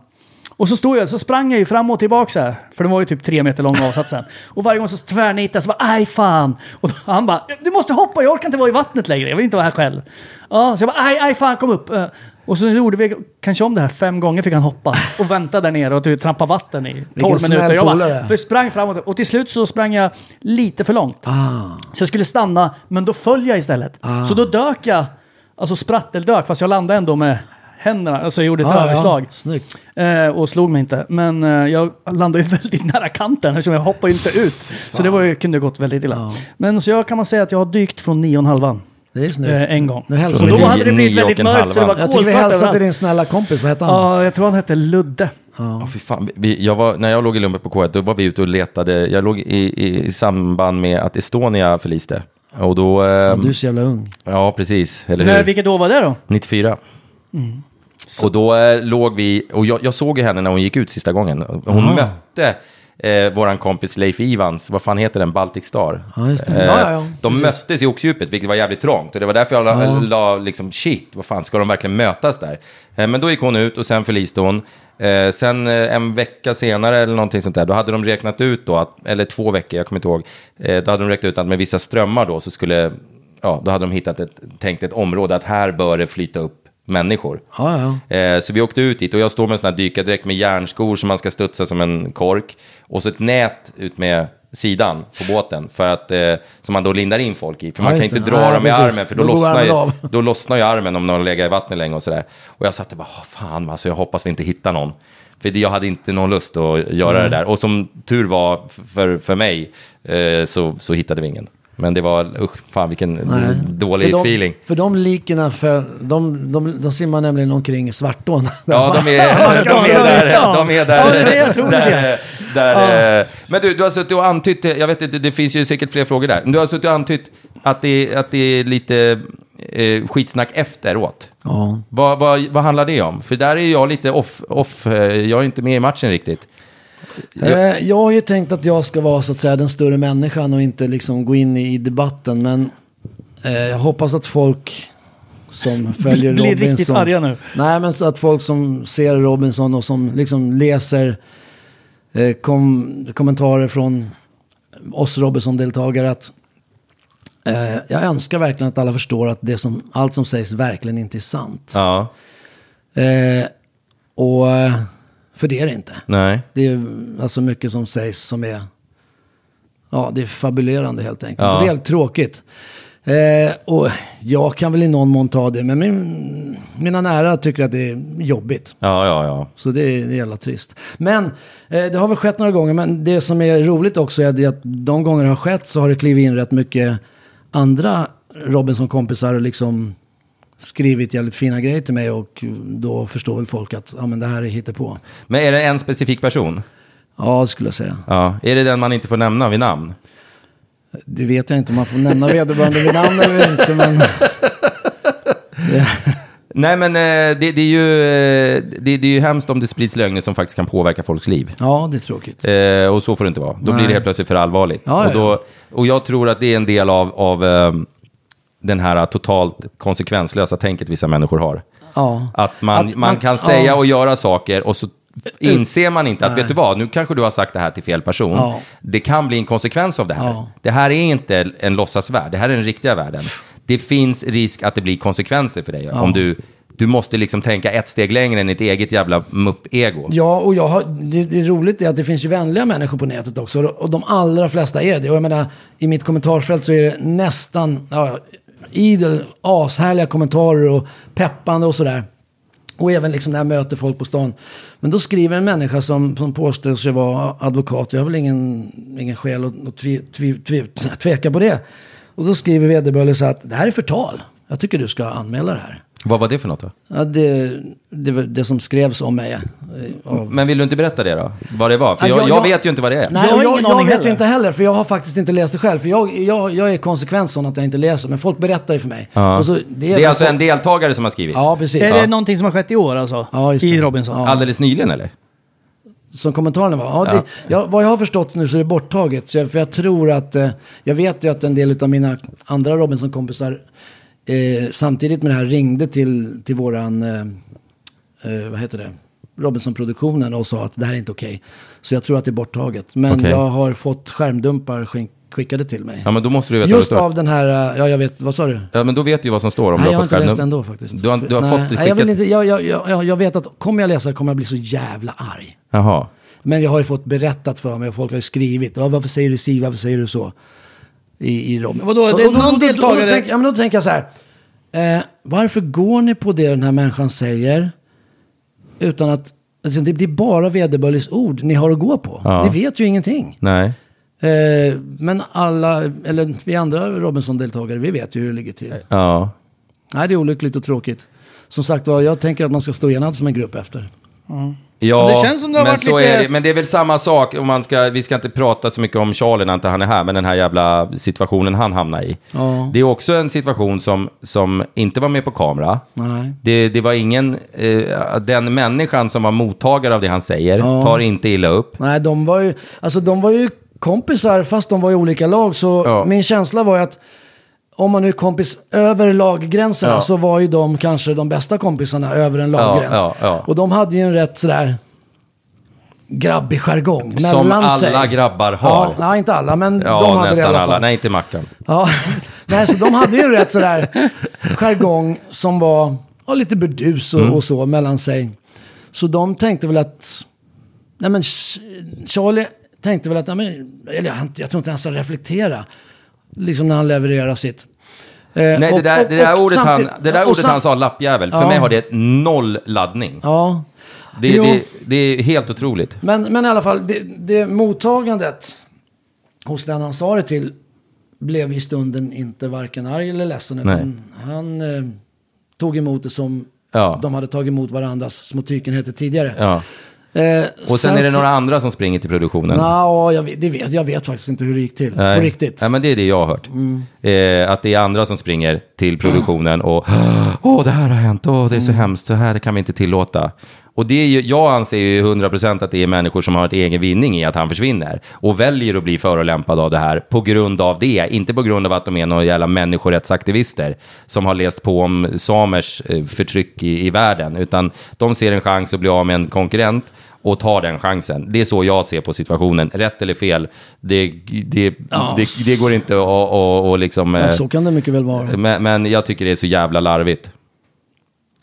S1: Och så stod jag, så sprang jag ju fram och tillbaka så här. För den var ju typ tre meter lång avsatsen. Och varje gång så tvärnitade jag så bara, aj fan. Och han bara, du måste hoppa, jag orkar inte vara i vattnet längre. Jag vill inte vara här själv. Ja, så jag bara, aj, aj fan kom upp. Eh, Och så gjorde vi kanske om det här fem gånger fick han hoppa. Och vänta där nere och typ trampa vatten i tolv
S5: snäll
S1: minuter. Jag bara,
S5: polare.
S1: för sprang framåt. Och till slut så sprang jag lite för långt.
S5: Ah.
S1: Så jag skulle stanna, men då föll jag istället. Så då dök jag, alltså spratteldök, fast jag landade ändå med händerna. Alltså jag gjorde ett
S5: Ah, Ja, ja.
S1: överslag.
S5: Snyggt.
S1: Eh, och slog mig inte. Men eh, jag landade ju väldigt nära kanten eftersom jag hoppade ju inte ut. så det var ju, kunde gått väldigt illa. Men så jag kan man säga att jag har dykt från nio och en halvan.
S5: Det är snyggt.
S1: Eh, en gång.
S5: Nu hälsar
S1: och
S5: vi
S1: då
S5: till-
S1: hade det blivit
S4: Nio och
S1: väldigt
S4: en
S1: mörkt så det var
S4: halvan.
S5: Jag tror vi
S1: kolsvart
S5: hälsar till
S1: överallt.
S5: din snälla kompis, vad hette han?
S1: Ja, jag tror han hette Ludde.
S4: Ja, fy fan. Vi, jag var, när jag låg i lumpen på K1, då var vi ute och letade. Jag låg i, i, i samband med att Estonia förliste. Och då... ehm,
S5: Ja, Du är så jävla ung.
S4: ja precis. Eller hur?
S1: Men vilket år var det då?
S4: 94.
S5: Mm.
S4: Och då eh, låg vi, och jag, jag såg ju henne när hon gick ut sista gången. Hon mötte eh, våran kompis Leif Ivans, vad fan heter den, Baltic Star.
S5: Ja, just det. Ja, ja, ja.
S4: Eh, De
S5: Precis.
S4: möttes i oxdjupet, vilket var jävligt trångt. Och det var därför jag la, la liksom, shit, vad fan, ska de verkligen mötas där? Eh, men då gick hon ut och sen förliste hon. Eh, sen eh, en vecka senare eller någonting sånt där, då hade de räknat ut då, att, eller två veckor, jag kommer inte ihåg, eh, då hade de räknat ut att med vissa strömmar då så skulle, ja, då hade de hittat ett, tänkt ett område att här bör det flyta upp människor.
S5: Ja, ja.
S4: Eh, så vi åkte ut dit och jag står med en sån här dykardräkt med järnskor som man ska studsa som en kork. Och så ett nät ut med sidan på båten för att, eh, som man då lindar in folk i. För
S5: Ja,
S4: man kan
S5: just
S4: inte
S5: det.
S4: dra
S5: Nej,
S4: dem i
S5: precis.
S4: armen för då,
S5: Då går
S4: lossnar,
S5: armen
S4: ju,
S5: av.
S4: då lossnar ju armen om de har legat i vattnet länge och sådär. Och jag satt och bara, "Åh, fan alltså jag hoppas vi inte hittar någon. För det- jag hade inte någon lust att göra det där. Och som tur var f- för, för mig eh, så, så hittade vi ingen. Men det var, usch, fan vilken
S5: Nej.
S4: dålig
S5: för de,
S4: feeling.
S5: För de likerna, för, de, de, de simmar nämligen omkring i Svartån.
S4: Ja, de är, de är där. De är
S1: Ja,
S4: där.
S1: det är det jag tror
S4: där,
S1: det.
S4: där, eh, Men du, du har suttit och antytt, jag vet inte, det finns ju säkert fler frågor där. Men Du har suttit och antytt att det, att det är lite eh, skitsnack efteråt.
S5: Ja.
S4: Vad, vad, vad handlar det om? För där är jag lite off, off eh, jag är inte med i matchen riktigt.
S5: Eh, Jag har ju tänkt att jag ska vara så att säga den större människan och inte liksom gå in i, i debatten. Men eh, jag hoppas att folk som följer
S1: Blir riktigt
S5: Robinson...
S1: arga nu.
S5: Nej, men så att folk som ser Robinson och som liksom läser eh, kom, kommentarer från oss Robinson-deltagare att eh, jag önskar verkligen att alla förstår att det som, allt som sägs verkligen inte är sant.
S4: Ja,
S5: Eh, och, eh, för det är det inte.
S4: nej.
S5: Det är ju, alltså mycket som sägs som är... Ja, det är fabulerande helt enkelt.
S4: Ja.
S5: Och det är helt tråkigt. Eh, och jag kan väl i någon mån ta det, men min, mina nära tycker att det är jobbigt.
S4: Ja, ja, ja.
S5: Så det är, det är jävla trist. Men eh, det har väl skett några gånger, men det som är roligt också är det att de gånger det har skett så har det klivit in rätt mycket andra Robinson-kompisar och liksom skrivit jävligt fina grejer till mig och då förstår väl folk att ja, men det här är hittepå.
S4: Men är det en specifik person?
S5: Ja, det skulle jag säga.
S4: Ja. Är det den man inte får nämna vid namn?
S5: Det vet jag inte om man får nämna vederbörande vid namn eller inte, men...
S4: Nej, men eh, det, det, är ju, eh, det, det är ju hemskt om det sprids lögner som faktiskt kan påverka folks liv.
S5: Ja, det är tråkigt.
S4: Eh, och så får det inte vara. Då blir det helt plötsligt för allvarligt.
S5: Ja, ja,
S4: och, då, och jag tror att det är en del av, av eh, den här totalt konsekvenslösa tänket vissa människor har.
S5: Ja.
S4: Att man,
S5: Att
S4: man
S5: man-
S4: kan säga
S5: ja.
S4: och göra saker och så inser man inte att, vet du vad, nu kanske du har sagt det här till fel person.
S5: Ja.
S4: Det kan bli en konsekvens av det här.
S5: Ja.
S4: Det här är inte en låtsasvärld, det här är den riktiga världen. Det finns risk att det blir konsekvenser för dig. Om du, du måste liksom tänka ett steg längre än ditt eget jävla mupp-ego.
S5: Ja, och jag har, det, det är roligt är att det finns ju vänliga människor på nätet också. Och och de allra flesta är det. Och jag menar, i mitt kommentarsfält så är det nästan ja, idel, ashärliga kommentarer och peppande och sådär. Och även liksom när jag möter folk på stan. Men då skriver en människa som, som påstår sig vara advokat. Jag har väl ingen, ingen skäl att, att tvi, tvi, tvi, tveka på det. Och då skriver vederbörande så att det här är förtal. Jag tycker du ska anmäla det här.
S4: Vad var det för något då?
S5: Ja, det, det, var det som skrevs om mig. eh, Av,
S4: Men vill du inte berätta det då? Vad det var? För jag,
S5: Ja,
S4: jag,
S5: jag-
S4: vet ju inte vad det är.
S5: Nej,
S1: Jag har
S5: jag, jag,
S1: ingen
S5: jag
S1: aning
S5: vet
S1: heller.
S5: ju inte heller, för jag har faktiskt inte läst det själv. För jag, jag, jag är konsekvent sån att jag inte läser, men folk berättar ju för mig.
S4: Ja.
S5: Och så,
S4: det, är alltså en deltagare som har skrivit?
S5: Ja, precis.
S1: Är det någonting som har skett i år alltså?
S5: Ja, just det.
S1: I Robinson?
S5: Ja.
S4: Alldeles nyligen eller?
S5: Som kommentarerna var. Ja, det,
S4: Ja.
S5: Jag, vad jag har förstått nu så är det borttaget. Så jag, för jag tror att, eh, jag vet ju att en del av mina andra Robinson-kompisar eh, samtidigt med det här ringde till, till våran, eh, eh, vad heter det, Robinson-produktionen och sa att det här är inte okej. Så jag tror att det är borttaget. Men
S4: Okej.
S5: jag har fått skärmdumpar skink- skickade till mig.
S4: Ja, men då måste du veta
S5: Just
S4: vad det
S5: av
S4: står.
S5: den här, eh, ja jag vet, vad sa du?
S4: Ja, men då vet du ju vad som står om
S5: Nej,
S4: du
S5: jag har
S4: har fått
S5: inte läst
S4: själv.
S5: den ändå faktiskt.
S4: Du har, du har
S5: nej,
S4: fått det
S5: nej, jag, vill
S4: skickat?
S5: inte, jag, jag, jag, jag vet att kommer jag läsa det kommer jag bli så jävla arg.
S4: Jaha.
S5: Men jag har ju fått berättat för mig och folk har ju skrivit. Ja, varför säger du si, varför säger du så? I, i Robin.
S1: Vadå, det är
S5: Och- och då-
S1: någon
S5: och då- och då
S1: deltagare-
S5: tänker- Ja, men då tänker jag så här. Eh, varför går ni på det den här människan säger? Utan att... Alltså, det, det är bara vederbörliga ord ni har att gå på.
S4: Ja.
S5: Ni vet ju ingenting.
S4: Nej.
S5: Eh, men alla, eller vi andra Robinson-deltagare, vi vet ju hur det ligger till.
S4: Ja.
S5: Nej, det är olyckligt och tråkigt. Som sagt var, jag tänker att man ska stå enad som en grupp efter.
S4: Ja,
S1: Men det känns som det har
S4: men,
S1: varit
S4: så
S1: lite-
S4: är det, men det är väl samma sak, om man ska, vi ska inte prata så mycket om Charlie när inte han är här, men den här jävla situationen han hamnar i.
S5: Ja.
S4: Det är också en situation som, som inte var med på kamera.
S5: Nej.
S4: Det, det var ingen, eh, den människan som var mottagare av det han säger
S5: Ja.
S4: tar inte illa upp.
S5: Nej, de var ju, alltså, de var ju kompisar fast de var i olika lag. Så
S4: Ja.
S5: min känsla var ju att om man nu är kompis över laggränserna
S4: Ja.
S5: så var ju de kanske de bästa kompisarna över en laggräns.
S4: ja, ja.
S5: Och de hade ju en rätt sådär grabbig jargong.
S4: Som
S5: mellan
S4: alla
S5: sig.
S4: grabbar har.
S5: Ja, nej, inte alla, men
S4: Ja,
S5: de hade det i
S4: nästan
S5: alla fall. Eh,
S4: alla. Nej, inte Mackan.
S5: Ja, nej, så de hade ju en rätt sådär jargong som var ja, lite burdus
S4: Mm.
S5: och, och så mellan sig. Så de tänkte väl att, nej men Ch- Charlie tänkte väl att, nej, men, eller han, jag tror inte ens han reflektera, liksom när han levererar sitt. Eh,
S4: Nej, det
S5: och-
S4: där,
S5: och-
S4: det där
S5: och
S4: ordet, han,
S5: samtidigt-
S4: det där
S5: och
S4: ordet
S5: sam-
S4: han sa, lappjävel, för
S5: Ja.
S4: mig har det noll laddning.
S5: Ja,
S4: Det,
S5: Jo.
S4: det, det är helt otroligt.
S5: Men, men i alla fall, det, det mottagandet hos den han sa det till blev i stunden inte varken arg eller ledsen. Utan han eh, tog emot det som
S4: Ja.
S5: de hade tagit emot varandras små tykenheter tidigare.
S4: Ja.
S5: Eh,
S4: Och sen är det
S5: så-
S4: några andra som springer till produktionen.
S5: Nå, jag, vet- det vet, jag vet faktiskt inte hur det gick till.
S4: Nej.
S5: På riktigt.
S4: Nej, men det är det jag har hört. Eh, att det är andra som springer till produktionen och åh, det här har hänt, åh, det är så hemskt, så här kan vi inte tillåta. Och det är ju, jag anser ju 100% att det är människor som har ett egen vinning i att han försvinner och väljer att bli förolämpade av det här på grund av det, inte på grund av att de är några jävla människorättsaktivister som har läst på om samers eh, förtryck i, i världen, utan de ser en chans att bli av med en konkurrent och tar den chansen. Det är så jag ser på situationen. Rätt eller fel, det, det, det, det går inte att att- att liksom... eh,
S5: Ja, så kan det mycket väl vara.
S4: men, men jag tycker det är så jävla larvigt.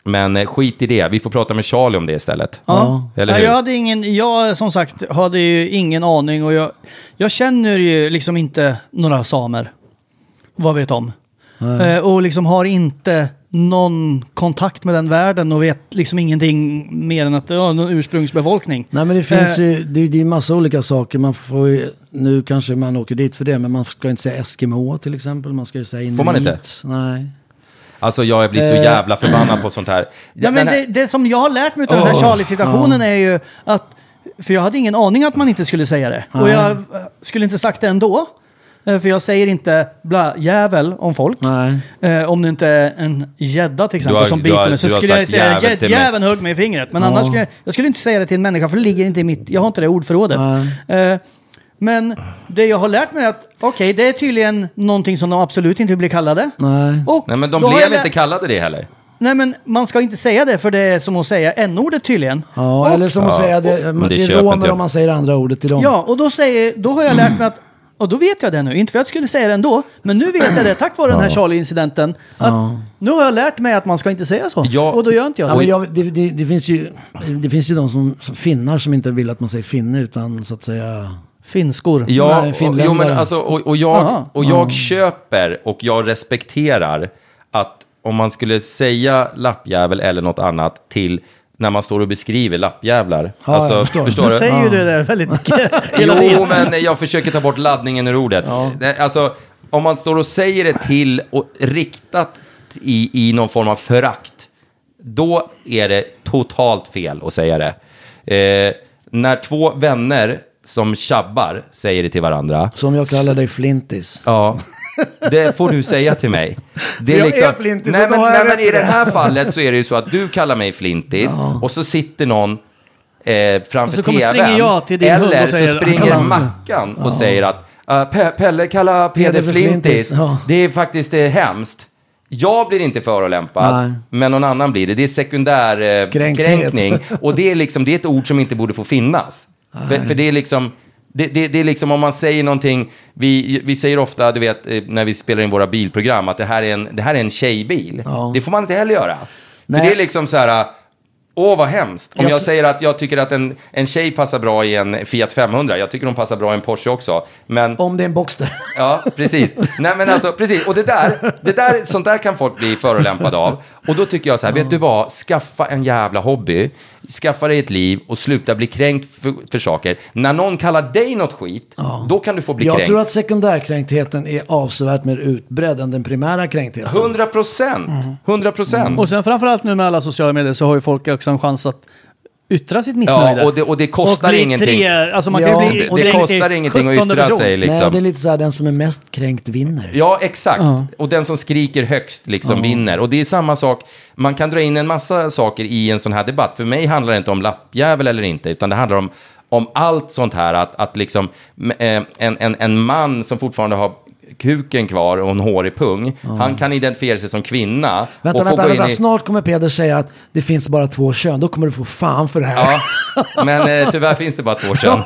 S4: Men eh, skit i det, vi får prata med Charlie om det istället.
S1: Ja.
S4: Eller
S1: ja,
S4: hur?
S1: jag hade ingen, jag som sagt hade ju ingen aning och jag, jag känner ju liksom inte några samer. Vad vet om. Eh, och liksom har inte någon kontakt med den världen och vet liksom ingenting mer än att det är någon ursprungsbefolkning.
S5: Nej men det finns
S1: Eh,
S5: ju, det, det är ju massa olika saker. Man får ju, nu kanske man åker dit för det, men man ska inte säga Eskimo till exempel. Man ska ju säga inuit.
S4: Får man inte?
S5: Nej.
S4: Alltså jag blir så
S5: Eh.
S4: jävla förbannad på sånt här. eh,
S1: Ja, men
S4: Den
S1: det,
S4: här-
S1: det som jag har lärt mig av den här
S5: Åh,
S1: Charlie-situationen är ju att... För jag hade ingen aning att man inte skulle säga det. Och jag eh, skulle inte sagt det ändå. Eh, För jag säger inte bla jävel om folk.
S5: Nej.
S1: Eh, om det inte är en gädda till exempel
S4: Du har-
S1: som
S4: du har-
S1: biter mig så
S4: du har
S1: skulle jag
S4: sagt
S1: säga
S4: jävel till mig.
S1: jäveln högg mig i fingret. Men
S5: Ja.
S1: annars skulle jag, jag skulle inte säga det till en människa för det ligger inte i mitt... Jag har inte det ordförrådet. Eh, men det jag har lärt mig är att okej, det är tydligen någonting som de absolut inte vill bli kallade.
S5: Nej.
S1: Och
S4: Nej, men de
S1: då har jag
S4: blev
S1: lä-
S4: inte kallade det heller.
S1: Nej men man ska inte säga det för det är som att säga n-ordet tydligen.
S5: Ja,
S1: Och-
S5: eller som att
S4: Ja,
S5: säga det,
S4: och-
S5: men
S4: men det
S5: till
S4: köper inte
S5: romer
S4: jag.
S5: om man säger andra ordet till dem.
S1: Ja, och då, säger, då har jag lärt mig att och då vet jag det nu, inte för att jag skulle säga det ändå, men nu vet jag det tack vare den här Charlie-incidenten. Att Nu har jag lärt mig att man ska inte säga så.
S4: Ja.
S1: Och då gör inte jag
S5: Ja,
S1: det.
S5: men jag, det, det, det, finns ju, det finns ju de som, som finnar som inte vill att man säger finne utan så att säga...
S1: Finskor.
S4: Ja,
S5: Nej,
S4: och- jo, men
S5: finländare.
S4: alltså, och, och
S1: Aha.
S4: jag, och jag köper och jag respekterar att om man skulle säga lappjävel eller något annat till när man står och beskriver lappjävlar. Alltså,
S5: Ja, jag förstår.
S1: du säger ju det där väldigt hela tiden.
S4: Jo, men jag försöker ta bort laddningen ur ordet. Nej, Alltså, om man står och säger det till och riktat i, i någon form av förakt, då är det totalt fel att säga det. Eh, när två vänner som tjabbar säger det till varandra,
S5: Som jag kallar dig flintis.
S4: Ja, det får du säga till mig. Det liksom-
S5: Jag är flintis,
S4: nej,
S5: och då
S4: men,
S5: har jag
S4: nej, men
S5: rätt
S4: i det här fallet så är det ju så att du kallar mig flintis och så sitter någon eh, framför
S1: så kommer-
S4: tvn.
S1: springer jag till din hund och
S4: eller
S1: säger-
S4: så springer Mackan och säger att "Ah, Pe- Pelle kallar Peder
S5: Peder för flintis,
S4: flintis.
S5: ja.
S4: Det är faktiskt eh, hemskt. Jag blir inte förolämpad,
S5: Nej.
S4: men någon annan blir det. Det är sekundär eh,
S5: Kränkthet.
S4: kränkning. Och det är, liksom, det är ett ord som inte borde få finnas. För, för det är liksom... Det, det, det är liksom om man säger någonting, vi, vi säger ofta, du vet, eh, när vi spelar in våra bilprogram, att det här är en, det här är en tjejbil.
S5: Ja.
S4: Det får man inte heller göra.
S5: Nej.
S4: För det är liksom så här, åh vad hemskt. Om
S5: Jag
S4: jag,
S5: tr-
S4: säger att jag tycker att en, en tjej passar bra i en Fiat 500, jag tycker hon passar bra i en Porsche också. Men
S5: Om det är en boxer.
S4: Ja, precis. Nej, men alltså, precis. Och det där, det där, sånt där kan folk bli förolämpade av. Och då tycker jag så här, vet du vad, skaffa en jävla hobby, skaffa dig ett liv och sluta bli kränkt för, för saker. När någon kallar dig något skit, då kan du få bli
S5: Jag
S4: kränkt.
S5: tror att sekundärkränktheten är avsevärt mer utbredd än den primära kränktheten.
S4: 100 procent, 100
S5: Mm.
S4: procent.
S1: Och sen framförallt nu med alla sociala medier så har ju folk också en chans att yttra sitt missnöje.
S4: Ja, och det, och det kostar
S1: bli
S4: ingenting.
S1: Tre, alltså man
S5: Ja,
S1: kan ju bli,
S5: det-
S4: Det, det
S1: kränkt i
S4: kostar ingenting att
S1: 17:e
S4: yttra
S1: person.
S4: sig
S5: Nej, det är
S4: liksom.
S5: lite så här, den som är mest kränkt vinner.
S4: Ja, exakt. Och den som skriker högst liksom vinner. Och det är samma sak, man kan dra in en massa saker i en sån här debatt. För mig handlar det inte om lappjävel eller inte, utan det handlar om, om allt sånt här. Att, att liksom m- eh, en, en, en man som fortfarande har kuken kvar och en hårig pung, han kan identifiera sig som kvinna.
S5: Vänta,
S4: och få
S5: vänta,
S4: gå in
S5: vänta.
S4: i-
S5: Snart kommer Peder säga att det finns bara två kön. Då kommer du få fan för det här.
S4: Ja, men eh, tyvärr finns det bara två kön.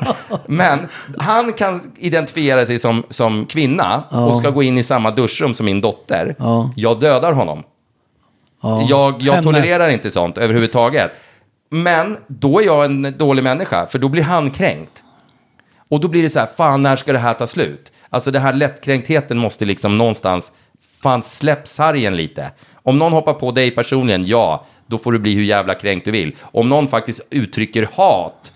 S4: Men han kan identifiera sig som, som kvinna och ska gå in i samma duschrum som min dotter. Jag dödar honom. Jag, jag
S1: Henne.
S4: tolererar inte sånt överhuvudtaget. Men då är jag en dålig människa, för då blir han kränkt. Och då blir det så här, fan när ska det här ta slut? Alltså den här lättkränktheten måste liksom någonstans, fan släpp sargen lite. Om någon hoppar på dig personligen, ja, då får du bli hur jävla kränkt du vill. Om någon faktiskt uttrycker hat,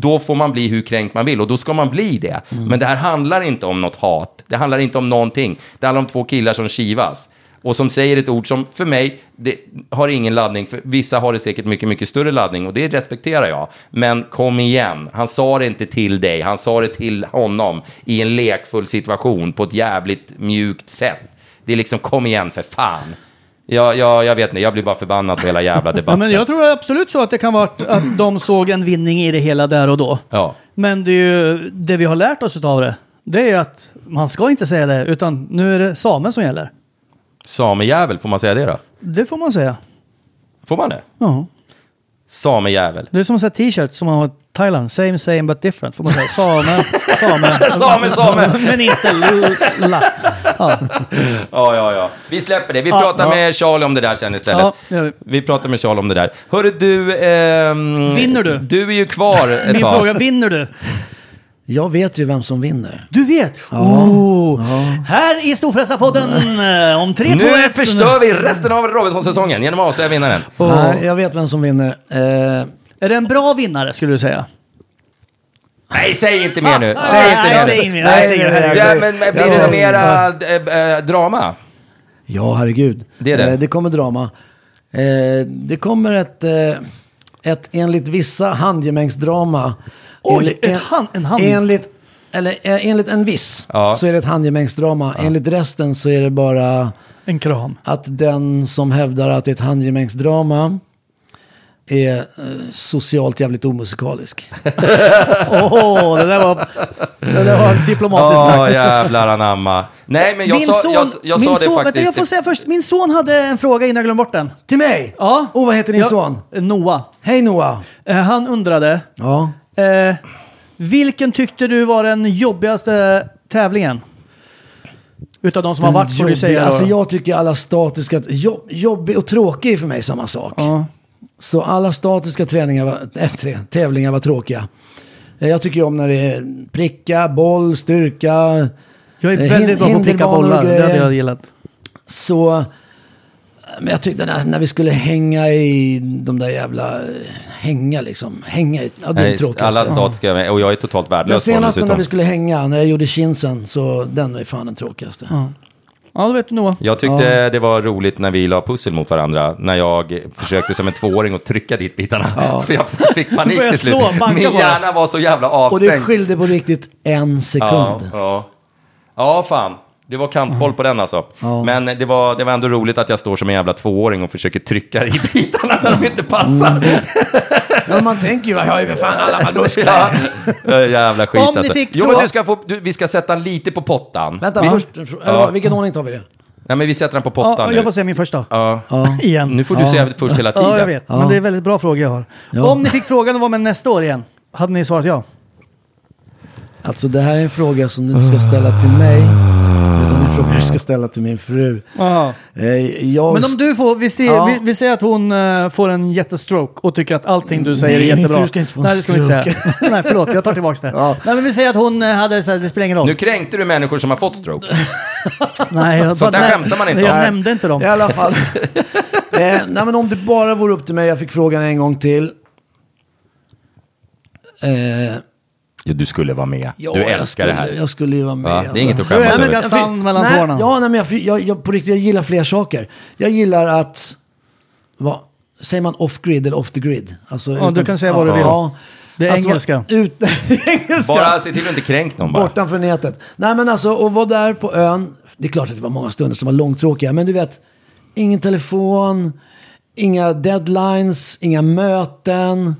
S4: då får man bli hur kränkt man vill och då ska man bli det. Men det här handlar inte om något hat, det handlar inte om någonting. Det handlar om två killar som kivas. Och som säger ett ord som för mig det har ingen laddning. För vissa har det säkert mycket, mycket större laddning och det respekterar jag. Men kom igen, han sa det inte till dig, han sa det till honom i en lekfull situation på ett jävligt mjukt sätt. Det är liksom kom igen för fan. Ja, ja, jag vet inte, jag blir bara förbannad på hela jävla
S1: Ja,
S4: debatten.
S1: men jag tror absolut så att det kan vara att, att de såg en vinning i det hela där och då.
S4: Ja.
S1: Men det, är ju, det vi har lärt oss av det, det är att man ska inte säga det, utan nu är det samen som gäller.
S4: Samejävel, får man säga det då?
S1: Det får man säga.
S4: Får man det?
S1: Ja.
S4: Samejävel.
S1: Det är som en sån här t-shirt som man har i Thailand. Same same but different. Får man säga. Same, same.
S4: Same, same.
S1: Men inte l- la. Ja.
S4: Ja, ja, ja. Vi släpper det. Vi
S1: Ja.
S4: pratar
S1: Ja.
S4: med Charlie om det där sen istället.
S1: Ja, det gör vi.
S4: vi. pratar med Charlie om det där. Hörru du... ehm,
S1: Vinner du?
S4: Du är ju kvar ett
S1: Min
S4: tag.
S1: fråga, vinner du?
S5: Jag vet ju vem som vinner.
S1: Du vet! Oh. Här i Storfräsarpodden eh, om tre, två,
S4: Nu
S1: ett.
S4: förstör vi resten av Robinson-säsongen genom att avslöja vinnaren.
S5: Nej, jag vet vem som vinner. Eh,
S1: Är det en bra vinnare skulle du säga?
S4: Nej, säg inte mer nu. Säg inte
S1: nej,
S4: mer.
S1: säg mer.
S4: nu.
S1: Nej, säg mer.
S4: Ja, men men blir det något mera eh, eh, drama?
S5: Ja, herregud.
S4: Det är det.
S5: Eh, det kommer drama. Eh, det kommer ett, eh, ett enligt vissa handgemängsdrama.
S1: Oj, ett han- en hand-
S5: Enligt Eller eh, enligt en viss
S4: Ja.
S5: så är det ett handgemängsdrama. Enligt resten så är det bara
S1: En kram.
S5: att den som hävdar att det är ett handgemängsdrama är eh, socialt jävligt omusikalisk.
S1: Åh, det där var, det där var diplomatiskt
S4: Ja,
S1: sagt.
S4: jävlar anamma. Nej, men jag
S1: min
S4: sa,
S1: son,
S4: jag, jag
S1: min
S4: sa det
S1: son,
S4: faktiskt.
S1: vänta, jag får säga först, min son hade en fråga innan jag glömde bort den.
S5: Till mig?
S1: Ja.
S5: Och vad heter din
S1: Ja,
S5: son?
S1: Noah.
S5: Hej Noah.
S1: Eh, han undrade,
S5: Ja.
S1: eh, vilken tyckte du var den jobbigaste tävlingen? Utav de som har varit, får du
S5: Jobbig-
S1: säga. då.
S5: Alltså jag tycker alla statiska, jobb, jobbig och tråkig är för mig samma sak. Så alla statiska träningar var, äh, trä, tävlingar var tråkiga. Eh, Jag tycker ju om när det är pricka, boll, styrka.
S1: jag är
S5: eh,
S1: väldigt
S5: hin-
S1: bra på att pricka
S5: hinderbanor och
S1: bollar, det hade
S5: grejer.
S1: jag gillat.
S5: Så... Men jag tyckte när, när vi skulle hänga i de där jävla... eh, Hänga liksom. Hänga i... Ja, det är
S4: Nej,
S5: det tråkigaste.
S4: alla statiska övningar, och jag är totalt
S5: Den
S4: värdelös på dem
S5: senaste när
S4: dessutom.
S5: vi skulle hänga, när jag gjorde chinsen, så den är fan den tråkigaste.
S1: Ja, det vet du Noah.
S4: Jag tyckte det var roligt när vi la pussel mot varandra, när jag försökte som en tvååring att trycka dit bitarna. För jag fick panik
S1: började
S4: till slut.
S1: slå, banka
S4: Min
S1: bara.
S4: hjärna var så jävla
S5: Och
S4: avstängd.
S5: det skilde på riktigt en
S4: ja,
S5: sekund.
S4: ja. ja, fan. Det var kantboll på den alltså. Men det var, det var ändå roligt att jag står som en jävla tvååring och försöker trycka i bitarna när de inte
S1: Mm,
S4: passar.
S5: Men man tänker ju, jag har ju för fan alla muskler.
S4: Ja. Eh, Jävla skit
S1: Om ni
S4: alltså.
S1: fick
S4: Jo, men
S1: fråga-
S4: du ska få, du, vi ska sätta den lite på pottan.
S5: Vänta,
S4: vi,
S5: först, en frå- eller, vad- vilken ordning tar vi det?
S4: Nej, men vi sätter den på pottan
S1: Ja,
S4: nu.
S1: jag får säga min första.
S4: Ja.
S1: Igen.
S4: Nu får du säga först hela tiden.
S1: Ja, jag vet. Men det är väldigt bra frågor jag har.
S5: Ja.
S1: Om ni fick frågan att vara med nästa år igen, hade ni svarat ja?
S5: Alltså det här är en fråga som du inte ska ställa till mig. Utan en fråga du ska ställa till min fru.
S1: Aha.
S5: Eh, Jag...
S1: Men om du får, vi, stri-
S5: Ja.
S1: vi, vi säger att hon eh, får en jättestroke och tycker att allting du säger är
S5: Nej, min
S1: jättebra.
S5: fru ska inte få en
S1: Nej, det ska vi inte
S5: stroke.
S1: säga. Nej, förlåt, jag tar tillbaka det. Nej, men vi säger att hon eh, hade, så här, det spelar ingen roll.
S4: Nu kränkte du människor som har fått stroke.
S1: Nej, jag,
S4: Sånt där
S1: nej,
S4: skämtar man inte
S1: Jag
S4: om.
S1: nämnde inte dem.
S5: I alla fall. eh, nej men om det bara vore upp till mig, jag fick frågan en gång till. Eh,
S4: Ja, du skulle vara med.
S5: ja,
S4: du
S5: jag
S4: älskar
S5: skulle,
S4: det här.
S5: Jag skulle ju vara med.
S4: Ja, det är inget att
S1: Du
S4: skämmas
S1: älskar
S4: över.
S5: Jag fick-
S1: sand mellan
S5: nej,
S1: tårna.
S5: Ja, nej, men jag, jag, jag, på riktigt, jag gillar fler saker. Jag gillar att... Vad, säger man off-grid eller off the grid? Alltså,
S1: Ja, du kan säga vad du vill. Det är engelska.
S5: vara Ut, det är engelska.
S4: Bara se till att du inte kränkt någon bara.
S5: Bortanför nätet. Nej men alltså att vara där på ön. Det är klart att det var många stunder som var långtråkiga. Men du vet, ingen telefon, inga deadlines, inga möten.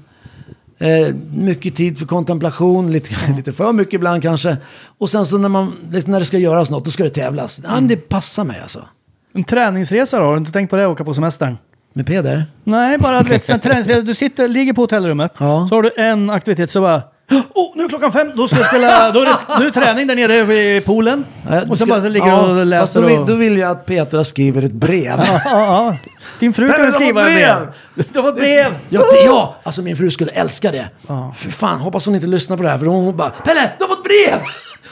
S5: Eh, mycket tid för kontemplation, lite, lite för mycket ibland kanske. Och sen så när, man, när det ska göras något, då ska det tävlas. Ja, men det
S1: Mm.
S5: passar mig alltså.
S1: En träningsresa då? Har du inte tänkt på det? Åka på semestern?
S5: Med Peder?
S1: Nej, bara att vet, en träningsresa. Du sitter, ligger på hotellrummet,
S5: Ja.
S1: så har du en aktivitet så bara... Oh, nu är klockan fem, då ska jag spela... Då är det, nu är det träning där nere vid poolen.
S5: Eh, du
S1: och sen
S5: ska-
S1: bara så ligger
S5: Ja,
S1: du och
S5: fast då,
S1: läser
S5: vill-
S1: och...
S5: då vill jag att Petra skriver ett brev.
S1: Din fru
S5: Pelle,
S1: kan
S5: det var
S1: skriva ett brev.
S5: brev.
S1: Det var ett brev!
S5: Ja, det, ja, alltså min fru skulle älska det. För fan, hoppas hon inte lyssnar på det här. För hon, hon bara “Pelle, du har fått brev!”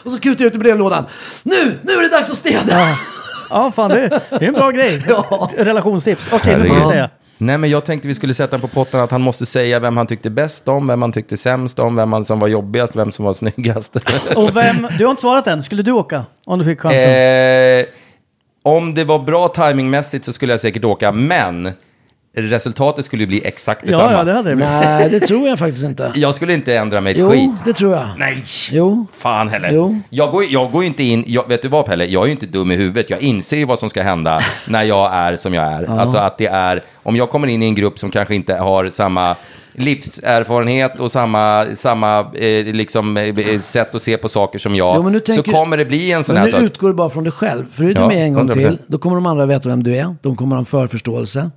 S5: Och så kutar jag ut i brevlådan. Nu, nu är det dags att städa!
S1: Ja, fan det, det är en bra grej. Relationstips. Okej, nu får du
S4: Herregud.
S1: säga.
S4: Nej, men jag tänkte vi skulle sätta på potten att han måste säga vem han tyckte bäst om, vem han tyckte sämst om, vem han som var jobbigast, vem som var snyggast.
S1: Och vem, du har inte svarat än. Skulle du åka? Om du fick chansen.
S4: eh, om det var bra timingmässigt så skulle jag säkert åka, men resultatet skulle ju bli exakt detsamma.
S1: ja, ja, det hade det blivit.
S5: Nej, det tror jag faktiskt inte.
S4: Jag skulle inte ändra mig ett skit.
S5: Jo, det tror jag.
S4: Nej!
S5: Jo.
S4: Fan heller.
S5: Jo.
S4: Mm. Jag går ju jag går ju inte in, jag, vet du vad Pelle, jag är ju inte dum i huvudet. Jag inser ju vad som ska hända när jag är som jag är. Alltså att det är, om jag kommer in i en grupp som kanske inte har samma livserfarenhet och samma, samma eh, liksom, eh, sätt att se på saker som jag,
S5: Jo, men nu tänker-
S4: så kommer det bli en sån
S5: Men
S4: här
S5: nu
S4: sak.
S5: utgår du bara från dig själv. För är du
S4: Ja,
S5: med en gång
S4: 100%.
S5: till, då kommer de andra veta vem du är. De kommer ha en förförståelse.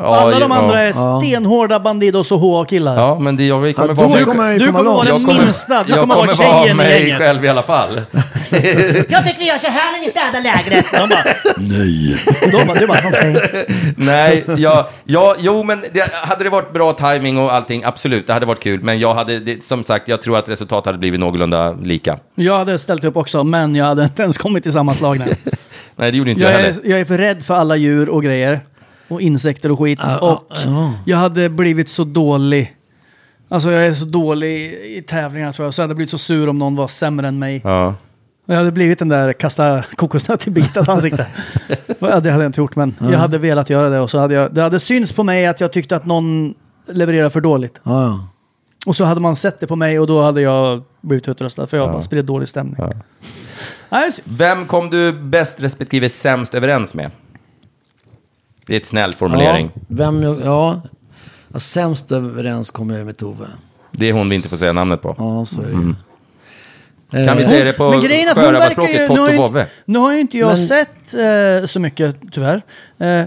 S4: Ja,
S1: Alla de
S4: ja.
S1: andra är stenhårda Bandidos och HA-killar.
S4: Ja, men det, jag kommer
S5: Ja,
S4: vara
S5: då
S4: mig-
S5: kommer jag ju
S1: Du
S5: komma
S1: kommer vara
S5: långt.
S1: den
S4: jag kommer-
S1: minsta. Du
S4: jag
S1: kommer vara tjejen i
S4: mig
S1: gänget.
S4: själv i alla fall.
S8: Jag tycker vi gör så här när vi städar lägret.
S1: De bara, nej. De bara, du bara, okej.
S4: Nej, ja, ja, jo men det, hade det varit bra timing och allting, absolut, det hade varit kul. Men jag hade, det, som sagt, jag tror att resultatet hade blivit någorlunda lika.
S1: Jag hade ställt upp också, men jag hade inte ens kommit till sammanslagningen.
S4: Nej, det gjorde inte jag,
S1: jag,
S4: heller.
S1: är, jag är för rädd för alla djur och grejer. Och insekter och skit.
S5: Ja,
S1: och
S5: ja, ja.
S1: jag hade blivit så dålig. Alltså jag är så dålig i tävlingar tror jag. Så jag hade blivit så sur om någon var sämre än mig.
S4: Ja.
S1: Jag hade blivit den där kasta kokosnöt i Birgittas ansikte. Ja, det hade jag inte gjort, men jag hade velat göra det. Och så hade jag, det hade synts på mig att jag tyckte att någon levererade för dåligt.
S5: Ja, ja.
S1: Och så hade man sett det på mig och då hade jag blivit utröstad för jag bara spred dålig stämning. Nej, så-
S4: Vem kom du bäst respektive sämst överens med? Det är ett snäll formulering.
S5: Ja, vem, jag- ja. ja, sämst överens kommer jag med Tove.
S4: Det är hon vi inte får säga namnet på.
S5: Ja, så är det ju.
S4: Mm.
S5: Eh,
S4: Kan vi säga det på
S1: Eh, men grejen är att hon verkar ju... Nu
S4: sjörövarspråket?
S1: har
S4: Toto
S1: ju,
S4: Vovve.
S1: nu har ju inte jag
S5: Men-
S1: sett eh, så mycket, tyvärr. Eh,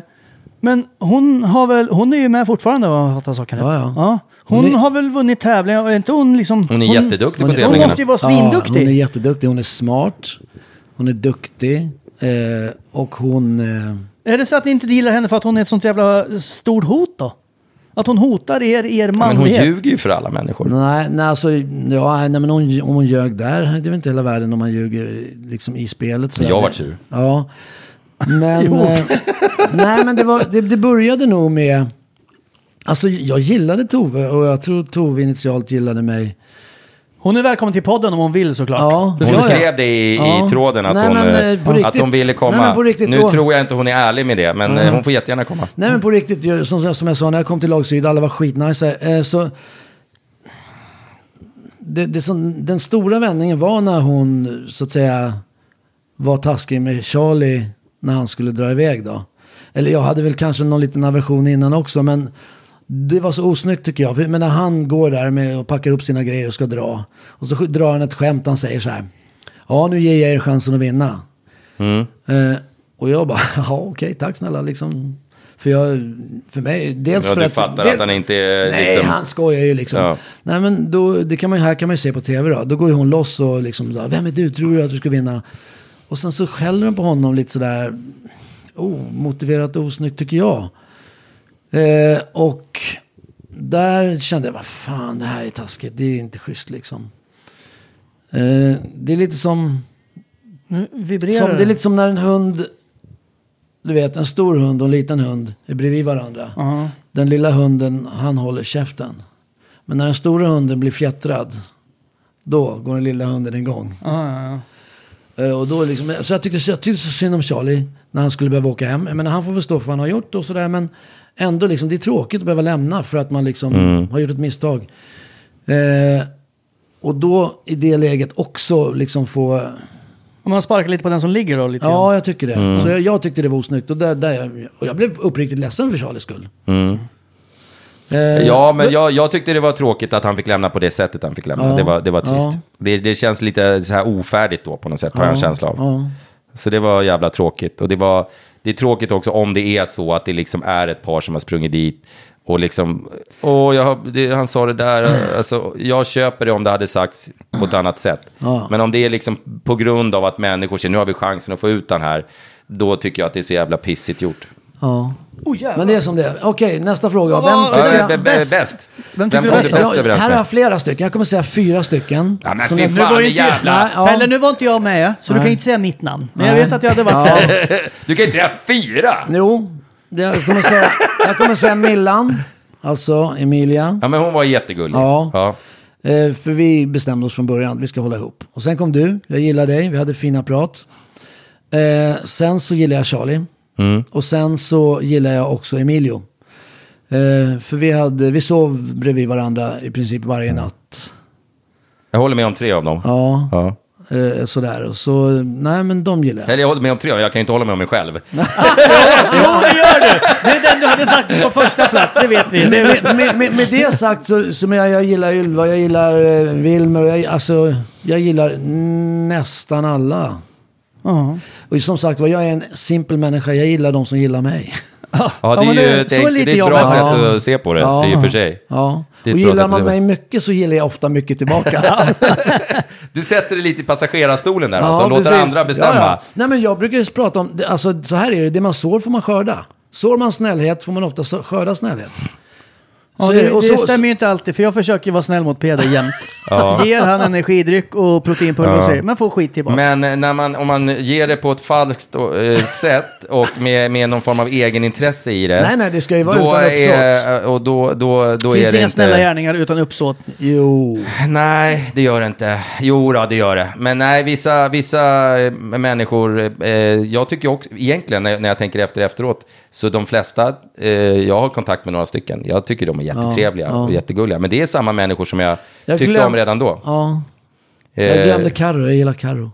S1: men hon har väl... Hon är ju med fortfarande vad jag fattar saken rätt.
S5: Ja, ja.
S1: Hon,
S5: Hon är-
S1: har väl vunnit tävlingar, och är inte hon liksom...
S4: Hon är jätteduktig på
S1: hon, hon
S4: tävlingarna.
S1: måste ju vara
S5: Ja, hon är
S1: svinduktig.
S5: jätteduktig. Hon är smart. Hon är duktig. Eh, och hon... Eh,
S1: är det så att ni inte gillar henne för att hon är ett sånt jävla stort hot då? Att hon hotar er, er
S4: Men hon
S1: manlighet?
S4: ljuger ju för alla människor.
S5: nej, nej, alltså, ja, nej, men hon, om hon ljög där, det är väl inte hela världen om man ljuger liksom, i spelet. sådär.
S4: Men jag vart sur.
S5: Ja. Men, eh, nej, men det, var, det, det började nog med... Alltså, jag gillade Tove och jag tror Tove initialt gillade mig.
S1: Hon är välkommen till podden om hon vill såklart.
S5: Ja,
S1: det
S4: Hon
S1: ska
S5: ja,
S1: jag
S5: ja.
S1: säga.
S4: skrev det i,
S5: Ja.
S4: i tråden att,
S5: Nej,
S4: hon,
S5: men,
S4: eh,
S5: eh, på
S4: att
S5: riktigt.
S4: hon ville komma.
S5: Nej, men på riktigt,
S4: nu
S5: då- Mm.
S4: tror jag inte hon är ärlig med det, men eh, hon får jättegärna komma.
S5: Nej men på riktigt, jag- som, jag- som jag sa när jag kom till lag Syd, alla var skitnice. Eh, så, det, det som, den stora vändningen var när hon så att säga var taskig med Charlie när han skulle dra iväg då. Eller jag hade väl kanske någon liten aversion innan också men det var så osnyggt tycker jag. För, men när han går där med och packar upp sina grejer och ska dra. Och så sk- drar han ett skämt, han säger så här. Ja nu ger jag er chansen att vinna.
S4: Mm.
S5: Eh, och jag bara, ja okej, tack snälla. Liksom, för, jag, för mig, dels
S4: Ja,
S5: för
S4: du
S5: att...
S4: fattar
S5: del-
S4: att han inte är
S5: Nej,
S4: liksom-
S5: han skojar ju liksom.
S4: Ja.
S5: Nej, men då, det kan man, ju- här kan man ju se på tv då. Då går ju hon loss och liksom, då, vem är du, tror du att du ska vinna? Och sen så skäller hon på honom lite sådär omotiverat och osnyggt tycker jag. Eh, och där kände jag, vad fan det här är taskigt, det är inte schysst liksom. Eh, det är lite som...
S1: Nu vibrerar
S5: Som, det är lite som när en hund, du vet en stor hund och en liten hund är bredvid varandra.
S1: Ja.
S5: Den lilla hunden, han håller käften. Men när den stora hunden blir fjättrad, då går den lilla hunden igång.
S1: Ja, ja, ja.
S5: Eh, Och då liksom, så jag tyckte, så- jag tyckte så synd om Charlie när han skulle behöva åka hem. Men han får väl stå för vad han har gjort och sådär. Men ändå, liksom, det är tråkigt att behöva lämna för att man liksom har gjort ett misstag. Eh, och då i det läget också liksom få
S1: Om man sparkar lite på den som ligger då? Lite grann.
S5: Ja, jag tycker det. Så jag, jag tyckte det var osnyggt. Och, där, där jag, och jag blev uppriktigt ledsen för Charlies skull. Eh,
S4: Ja, men jag, jag tyckte det var tråkigt att han fick lämna på det sättet han fick lämna.
S5: Ja,
S4: det, var, det var trist.
S5: ja.
S4: Det, det känns lite så här ofärdigt då på något sätt, har jag en känsla av.
S5: ja.
S4: Så det var jävla tråkigt. Och det, var, det är tråkigt också om det är så att det liksom är ett par som har sprungit dit och liksom, åh, jag, har- det, han sa det där, alltså, jag köper det om det hade sagts på ett annat sätt.
S5: Ja.
S4: Men om det är liksom på grund av att människor känner, nu har vi chansen att få ut den här, då tycker jag att det är så jävla pissigt gjort.
S5: ja.
S1: Oh, jävlar.
S5: Men det är som det är. Okej, nästa fråga.
S1: Ja,
S5: Vem tycker
S4: Ja,
S5: jag...
S4: b- b-
S1: bäst?
S4: Bäst.
S1: Vem tycker du
S4: kom
S1: bäst?
S4: du
S1: Ja,
S4: bäst överens
S5: här har
S4: med?
S5: jag flera stycken. Jag kommer säga fyra stycken.
S4: Ja, men
S5: Som
S4: fy
S5: jag-
S1: var
S4: fan,
S1: ju
S4: det
S1: inte-
S4: jävla...
S5: Nej, ja.
S1: Eller nu var inte jag med, så du
S5: Nej.
S1: kan inte säga mitt namn. Men jag
S5: Nej.
S1: vet att jag hade varit
S5: Ja.
S1: där.
S4: Du kan ju inte säga fyra!
S5: Jo, det, jag, kommer säga, jag kommer säga Millan. Alltså Emilia.
S4: Ja, men hon var jättegullig.
S5: Ja. Eh, för vi bestämde oss från början, vi ska hålla ihop. Och sen kom du, jag gillar dig, vi hade fina prat. Eh, sen så gillar jag Charlie.
S4: Mm.
S5: Och sen så gillar jag också Emilio. Eh, för vi, hade, vi sov bredvid varandra i princip varje natt.
S4: Jag håller med om tre av dem.
S5: Ja,
S4: Ja.
S5: eh, sådär. Och Så nej men de gillar jag.
S4: Eller jag håller med om tre, jag kan ju inte hålla med om mig själv.
S1: Jo, det gör du! Det är den du hade sagt på första plats, det vet vi.
S5: Med, med, med, med, med det sagt så, så men jag, jag gillar Ylva, jag gillar eh, Wilmer, och jag, alltså, jag gillar nästan alla.
S1: Ja.
S5: Och som sagt var, jag är en simpel människa. Jag gillar de som gillar mig.
S4: Ja, det
S1: men
S4: är ju
S1: det-
S4: ett,
S1: så
S4: det,
S1: lite
S4: det är ett
S1: jag
S4: bra
S1: med.
S4: sätt
S5: Ja.
S4: att se på det,
S5: Ja.
S4: i och för sig.
S5: Ja.
S4: Det är ett
S5: Och
S4: bra sätt
S5: gillar
S4: att se
S5: man
S4: på
S5: mig mycket så gillar jag ofta mycket tillbaka.
S4: Du sätter dig lite i passagerarstolen där, alltså, låter
S5: precis.
S4: andra bestämma.
S5: Ja, ja. Nej, men jag brukar ju prata om, det- alltså, så här är det, det man sår får man skörda. Sår man snällhet får man ofta så- skörda snällhet.
S1: Ja,
S5: Så är
S1: det,
S5: det. Och
S1: det
S5: så-
S1: stämmer ju inte alltid, för jag försöker ju vara snäll mot Peder jämt.
S4: Ja.
S9: Ger han energidryck och proteinpulver ja. men får skit tillbaka.
S4: Men eh, när man, om man ger det på ett falskt eh, sätt och med, med någon form av egenintresse i det.
S5: Nej, nej, det ska ju vara
S4: då
S5: utan
S4: är, Och då, då, då
S1: Finns
S4: är det
S1: inga
S4: inte...
S1: snälla gärningar utan uppsåt.
S5: Jo.
S4: Nej, det gör det inte. Jo, då, det gör det. Men nej, vissa, vissa eh, människor, eh, jag tycker också, egentligen när, när jag tänker efter efteråt, så de flesta, eh, jag har kontakt med några stycken, jag tycker de är jättetrevliga
S5: Ja, ja.
S4: och jättegulliga. Men det är samma människor som jag,
S5: Jag
S4: tyckte
S5: glöm-
S4: om redan då.
S5: Ja.
S4: Eh,
S5: Jag glömde Carro, jag gillar Carro.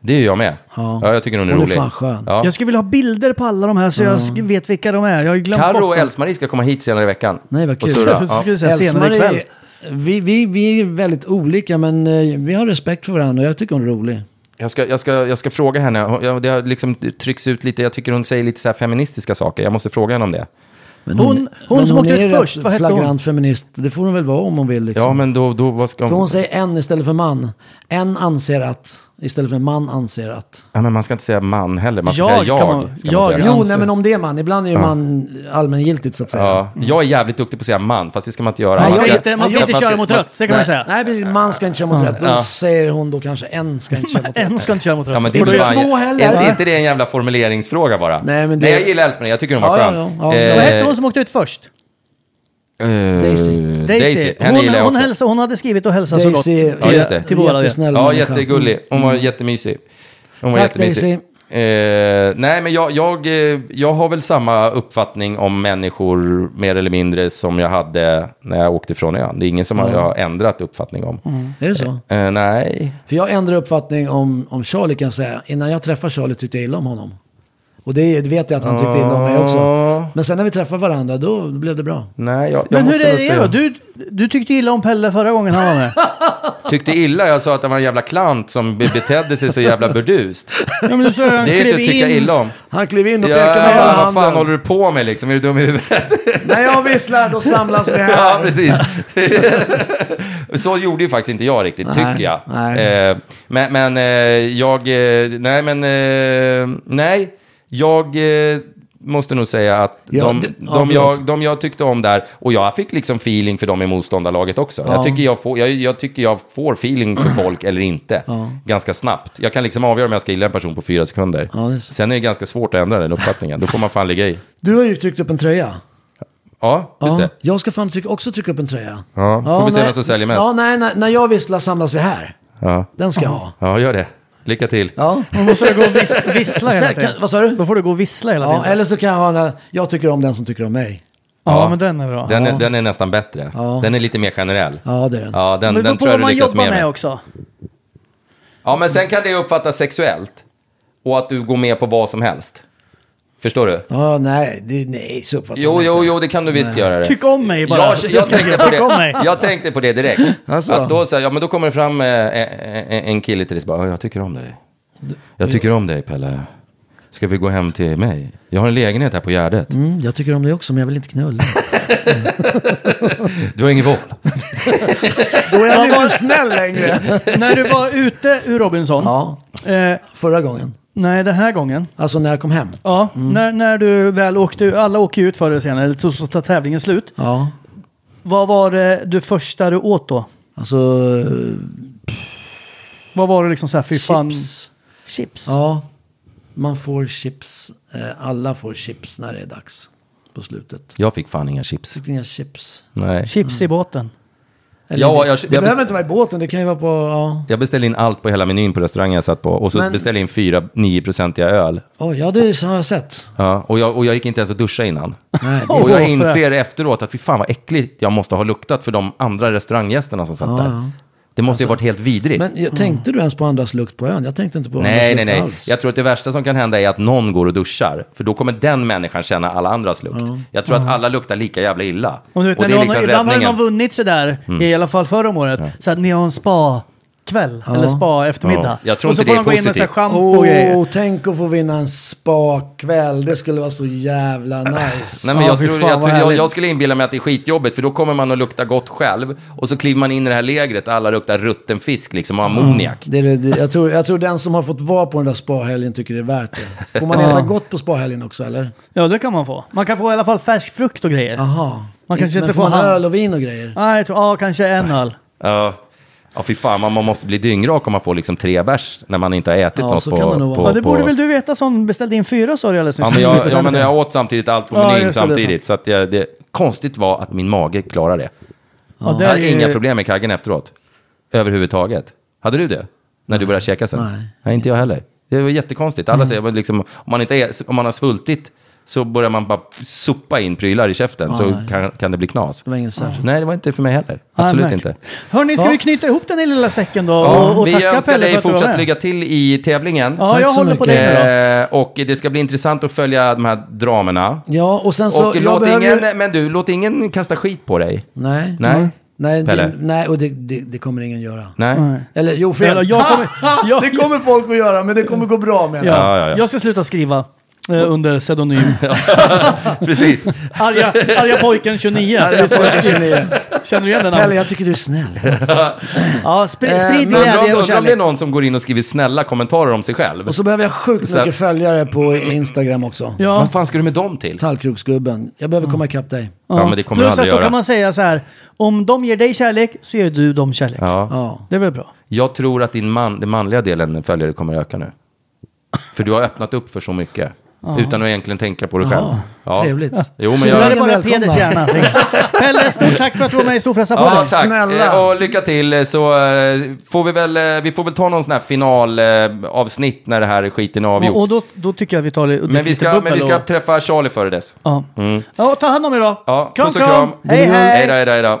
S4: Det är jag med.
S5: Ja.
S4: Ja, jag tycker hon är
S5: Hon är
S4: rolig.
S5: fan skön.
S4: Ja.
S1: Jag skulle vilja ha bilder på alla de här så jag
S5: Mm.
S1: sk- vet vilka de är. Jag har ju glömt
S4: Karo
S1: bort
S4: och
S1: dem.
S4: Else-Marie ska komma hit senare i veckan.
S5: Nej, vad
S4: Och
S5: kul.
S4: surra.
S1: Jag
S4: Ja.
S1: skulle säga senare
S5: Else-Marie,
S1: ikväll.
S5: vi, vi, vi är väldigt olika men eh, vi har respekt för varandra och jag tycker hon är rolig.
S4: Jag, ska, jag, ska, jag ska fråga henne, Hon- jag, det har liksom trycks ut lite, jag tycker hon säger lite så här feministiska saker, jag måste fråga henne om det.
S5: Men
S1: Hon- hon
S5: men
S1: som åkte
S5: är
S1: ut
S5: rätt
S1: först, vad hette hon?
S5: flagrant feminist. Det får hon väl vara om hon vill. Liksom.
S4: Ja, men då, då vad ska
S5: För
S4: hon...
S5: hon säger en istället för man. En anser att, istället för man anser att.
S4: Ja, men man ska inte säga man heller, man ska
S1: Jag
S4: säga
S1: kan
S4: jag.
S1: man-
S4: ska man
S1: jag-
S4: säga.
S1: Jag
S5: Jo,
S1: anser-
S5: nej men om det är man. Ibland är ju man allmängiltigt så att säga.
S4: Ja. Mm. jag är jävligt duktig på att säga man, fast det ska man inte göra.
S5: Nej,
S1: Man
S5: jag-
S1: ska inte, man ska
S5: jag-
S1: inte köra mot rött, det kan man säga.
S5: Nej precis, man ska inte köra mot rätt. Då säger hon då kanske en ska inte köra mot rätt.
S1: En ska inte köra mot rött.
S4: Ja, men det
S5: Inte
S4: blir bara-
S5: två heller,
S4: Är-
S5: va?
S4: Är inte det en jävla formuleringsfråga bara?
S5: Nej, men det-
S4: Nej jag gillar Else-Marie, jag tycker hon var
S5: Ja,
S4: skön.
S5: ja, ja.
S4: Eh,
S1: Vad hette hon som åkte ut först?
S4: eh,
S5: Daisy.
S1: Daisy.
S4: Henne
S1: Hon,
S4: gillar jag
S1: hon,
S4: också.
S1: hälsade, hon hade skrivit och hälsat så gott.
S5: Daisy
S4: Ja, just det.
S5: är
S1: Till våra
S5: jättesnäll
S4: Ja,
S5: människa.
S4: jättegullig. Hon var jättemysig. Hon var
S5: Tack,
S4: jättemysig.
S5: Daisy.
S4: Eh, nej, men jag, jag, eh, jag har väl samma uppfattning om människor mer eller mindre som jag hade när jag åkte från ön. Det är ingen som
S5: Mm.
S4: har- jag har ändrat uppfattning om.
S5: Är det så?
S4: Eh, nej.
S5: För jag ändrade uppfattning om, om Charlie kan jag säga. Innan jag träffade Charlie tyckte jag illa om honom. Och det det vet jag att han tyckte illa om mig också. Men sen när vi träffade varandra då blev det bra.
S4: nej jag, jag
S1: Men hur
S4: måste
S1: är
S4: väl
S1: det
S4: säga-
S1: då? Du, du tyckte illa om Pelle förra gången han var med.
S4: Tyckte illa, jag sa att han var en jävla klant som be- betedde sig så jävla burdust.
S1: Ja, men du sa ju han
S4: Det är
S1: klev
S4: inte att tycka
S1: in.
S4: illa om.
S5: Han klev in och
S4: Ja,
S5: pekade med hela
S4: vad fan håller
S5: handen.
S4: du på med liksom? Är du dum i huvudet?
S5: När jag visslar då samlas vi
S4: Ja,
S5: här.
S4: precis. så gjorde ju faktiskt inte jag riktigt,
S5: Nej,
S4: tycker jag.
S5: nej.
S4: Eh, men men eh, jag... Eh, nej, men... Eh, nej, jag... Eh, Måste nog säga att
S5: Ja,
S4: de,
S5: det- ja,
S4: de,
S5: förlåt.
S4: jag, de jag tyckte om där, och jag fick liksom feeling för dem i motståndarlaget också.
S5: Ja.
S4: Jag, tycker jag, får, jag, jag tycker jag får feeling för folk eller inte, ganska snabbt. Jag kan liksom avgöra om jag ska gilla en person på fyra sekunder.
S5: Ja, det är så.
S4: Sen är det ganska svårt att ändra den uppfattningen, då får man fan ligga i.
S5: Du har ju tryckt upp en tröja.
S4: Ja, just
S5: Ja,
S4: det.
S5: jag ska fan trycka, också trycka upp en tröja.
S4: Ja, får vi se
S5: nej-
S4: vem som säljer mest.
S5: Ja, nej, nej, när jag visslar samlas vi här.
S4: Ja.
S5: Den ska jag ha.
S4: Ja, gör det. Lycka till.
S5: Ja.
S1: Då måste du gå och vis, vissla hela
S5: Sen kan-
S1: tiden.
S5: vad sa du?
S1: Då får du gå och vissla hela
S5: ja,
S1: tiden.
S5: eller så kan jag ha den här, jag tycker om den som tycker om mig.
S1: Ja,
S4: Ja.
S1: men den är bra.
S4: Den, är, den är nästan bättre. Den är lite mer generell.
S5: Ja, det är den.
S4: Ja,
S1: men
S4: den,
S1: det beror
S4: den
S1: på
S4: tror
S1: vad
S4: jag du
S1: man
S4: lyckas
S1: jobbar
S4: mer
S1: med
S4: med.
S1: också.
S4: Ja, men sen kan det uppfattas sexuellt. Och att du går med på vad som helst. Förstår du?
S5: Ja, nej, det, nej, så uppfattar
S4: Jo,
S5: jag
S4: jo,
S5: inte.
S4: jo, det kan du visst göra det.
S1: Tyck om mig bara.
S4: Jag,
S1: Det
S4: jag,
S1: ska
S4: tänkte
S1: jag
S4: på
S1: tycka om
S4: det.
S1: mig.
S4: jag tänkte på det direkt.
S5: Alltså.
S4: Att då, så här, ja, men då kommer det fram eh, eh, eh, en kille till dig och bara, "Ja, jag tycker om dig. Jag tycker om dig, Pelle. Ska vi gå hem till mig? Jag har en lägenhet här på Gärdet.
S5: Mm, jag tycker om dig också, men jag vill inte knulla.
S4: Du har ingen val.
S5: Då är jag inte snäll längre.
S1: När du var ute ur Robinson,
S5: Ja,
S1: eh,
S5: förra gången.
S1: nej den här gången,
S5: Alltså när jag kom hem.
S1: ja, när, när du väl åkte, alla åker ju ut förr eller senare, eller så, så tar tävlingen slut.
S5: Ja,
S1: Vad var det du första du åt då?
S5: alltså
S1: Vad var det liksom såhär, fy fan?
S5: chips.
S1: Chips.
S5: Ja, man får chips. Eh, Alla får chips när det är dags på slutet.
S4: Jag fick fan inga chips.
S5: Jag tyckte inga chips.
S4: Nej.
S1: Chips i båten.
S5: Eller
S4: Ja,
S5: det
S4: jag-
S5: det
S4: jag-
S5: behöver inte vara i båten, det kan ju vara på... Ja.
S4: Jag beställde in allt på hela menyn på restaurangen jag satt på. Och så
S5: Men-
S4: beställde jag in fyra 9-procentiga öl.
S5: Oj, ja, det har jag sett.
S4: Ja, och, jag, och jag gick inte ens och duscha innan.
S5: Nej, det,
S4: Och jag
S1: Åh,
S4: inser efteråt att fy fan vad äckligt jag måste ha luktat för de andra restauranggästerna som satt där. Det måste ju ha varit helt vidrigt.
S5: Alltså, men jag, tänkte du ens på andras lukt på ön? Jag tänkte inte på andras
S4: Nej, nej,
S5: lukt
S4: nej.
S5: alls.
S4: Jag tror att det värsta som kan hända är att någon går och duschar. För då kommer den människan känna alla andras lukt. Jag tror att alla luktar lika jävla illa.
S1: Och du vet, när
S4: det liksom
S1: någon, ibland har någon vunnit sådär,
S4: Mm.
S1: i alla fall förra om året, så att ni har en spa-kväll eller spa-eftermiddag.
S4: Ja. Jag tror
S1: och så får
S4: inte det
S1: de
S4: är
S1: gå in med
S4: positivt.
S1: såhär schampo och grejer.
S5: Åh, tänk att få vinna en spakväll. Det skulle vara så jävla nice.
S4: Nej, men
S1: Ja,
S4: jag,
S1: fy
S4: tror,
S1: fan,
S4: jag,
S1: vad
S4: tror, jag,
S1: härligt.
S4: jag skulle inbilla mig att det är skitjobbigt, för då kommer man att lukta gott själv. Och så kliver man in i det här lägret, alla luktar rutten fisk liksom, och ammoniak.
S5: Det är det, det, jag, tror, jag tror den som har fått vara på den där spahelgen tycker det är värt det. Får man äta gott på spahelgen också eller?
S1: Ja, det kan man få. Man kan få i alla fall färsk frukt och grejer.
S5: Jaha.
S1: Man kanske
S5: Men
S1: inte
S5: får
S1: får
S5: man
S1: hand.
S5: öl och vin och grejer?
S1: Nej, jag tror, ja, kanske en öl.
S4: Ja. Ja, fy fan, man man måste bli dyngrak om man får liksom tre bärs när man inte har ätit
S5: Ja,
S4: något
S5: så
S4: på...
S5: kan det nog
S4: på,
S5: vara.
S1: Ja, det borde
S4: på...
S1: väl du veta som beställde in fyra sa du alldeles nyss.
S4: Ja, men jag, ja, men jag åt samtidigt allt på
S1: Ja,
S4: menyn
S1: just det, det är
S4: samtidigt. Så att jag, det, konstigt var att min mage klarade det.
S1: Ja, det
S4: Jag
S1: är
S4: hade
S1: ju-
S4: inga problem med kaggen efteråt. Överhuvudtaget. Hade du det? När du började käka sen?
S5: Nej.
S4: inte jag heller. Det var jättekonstigt. Alla
S1: Mm.
S4: säger men liksom, om man, inte är, om man har svultit så börjar man bara sopa in prylar i käften så kan, kan det bli knas.
S5: Det var inget särskilt.
S4: Nej, det var inte för mig heller. Absolut
S1: märk.
S4: inte.
S1: Hörni, ska
S5: Ja.
S1: vi knyta ihop den här lilla säcken då?
S4: Ja,
S1: och, och
S4: vi
S1: tacka
S4: önskar
S1: Pelle för
S4: dig
S1: att du var
S4: fortsatt
S1: med.
S4: lycka till i tävlingen.
S1: Ja,
S5: Tack
S1: jag
S5: så
S1: håller på
S5: mycket.
S1: dig nu då.
S4: Eh, och det ska bli intressant att följa de här dramerna.
S5: Ja, och sen så...
S4: och
S5: jag
S4: låt
S5: behöver ju-
S4: ingen, men du, låt ingen kasta skit på dig.
S5: Nej.
S4: Nej.
S5: Nej,
S4: Pelle.
S5: det, nej och det, det, det kommer ingen göra.
S4: Nej.
S5: Eller jo, fel.
S1: Eller jag kommer- jag-
S5: det kommer folk att göra, men det kommer gå bra med
S1: Ja.
S5: det.
S4: Ja, ja, ja.
S1: Jag ska sluta skriva eh, under pseudonym.
S4: Precis.
S1: Arga, arga pojken 29.
S5: Ja, det är folk som är-
S1: Känner du igen den?
S5: Pelle,
S1: namnet?
S5: jag tycker du är snäll.
S1: Ja, sprid,
S5: Eh,
S1: sprid
S5: men
S4: Undrar om,
S1: glädje och
S4: undrar om det är
S1: kärlek.
S4: någon som går in och skriver snälla kommentarer om sig själv.
S5: Och så behöver jag sjukt
S4: Så-
S5: mycket följare på Instagram också.
S1: Ja.
S4: Vad fan ska du med dem till?
S5: Tallkroksgubben. Jag behöver komma ikapp dig.
S4: Ja, men det kommer du
S1: Plus att
S4: aldrig
S1: då
S4: göra.
S1: kan man säga så här, om de ger dig kärlek så ger du dem kärlek.
S4: Ja.
S5: Ja.
S1: Det är väl bra?
S4: Jag tror att din man, den manliga delen följare kommer öka nu. För du har öppnat upp för så mycket. Utan att egentligen tänka på dig själv. Ja.
S5: Trevligt.
S4: Jo, men
S1: Så nu är det
S4: jag...
S5: Välkomna.
S1: bara Peders hjärna. Pelle, stort tack för att du var med i Storfräsarpodden.
S4: Ja, tack.
S5: Snälla.
S4: Eh, Och lycka till. eh, Så eh, får vi väl, eh, vi får väl ta någon sån här finalavsnitt när det här skiten är
S1: Och, och
S4: avgjord.
S1: då, då tycker jag vi tar det och
S4: Men vi
S1: lite
S4: ska,
S1: bubbel
S4: men vi ska
S1: och,
S4: träffa Charlie före dess.
S1: ja. ja, ta hand om er då.
S4: Ja,
S1: kram,
S4: puss och
S1: kram.
S4: kram.
S1: Hej, hej.
S4: Hej då, hej då, hej då.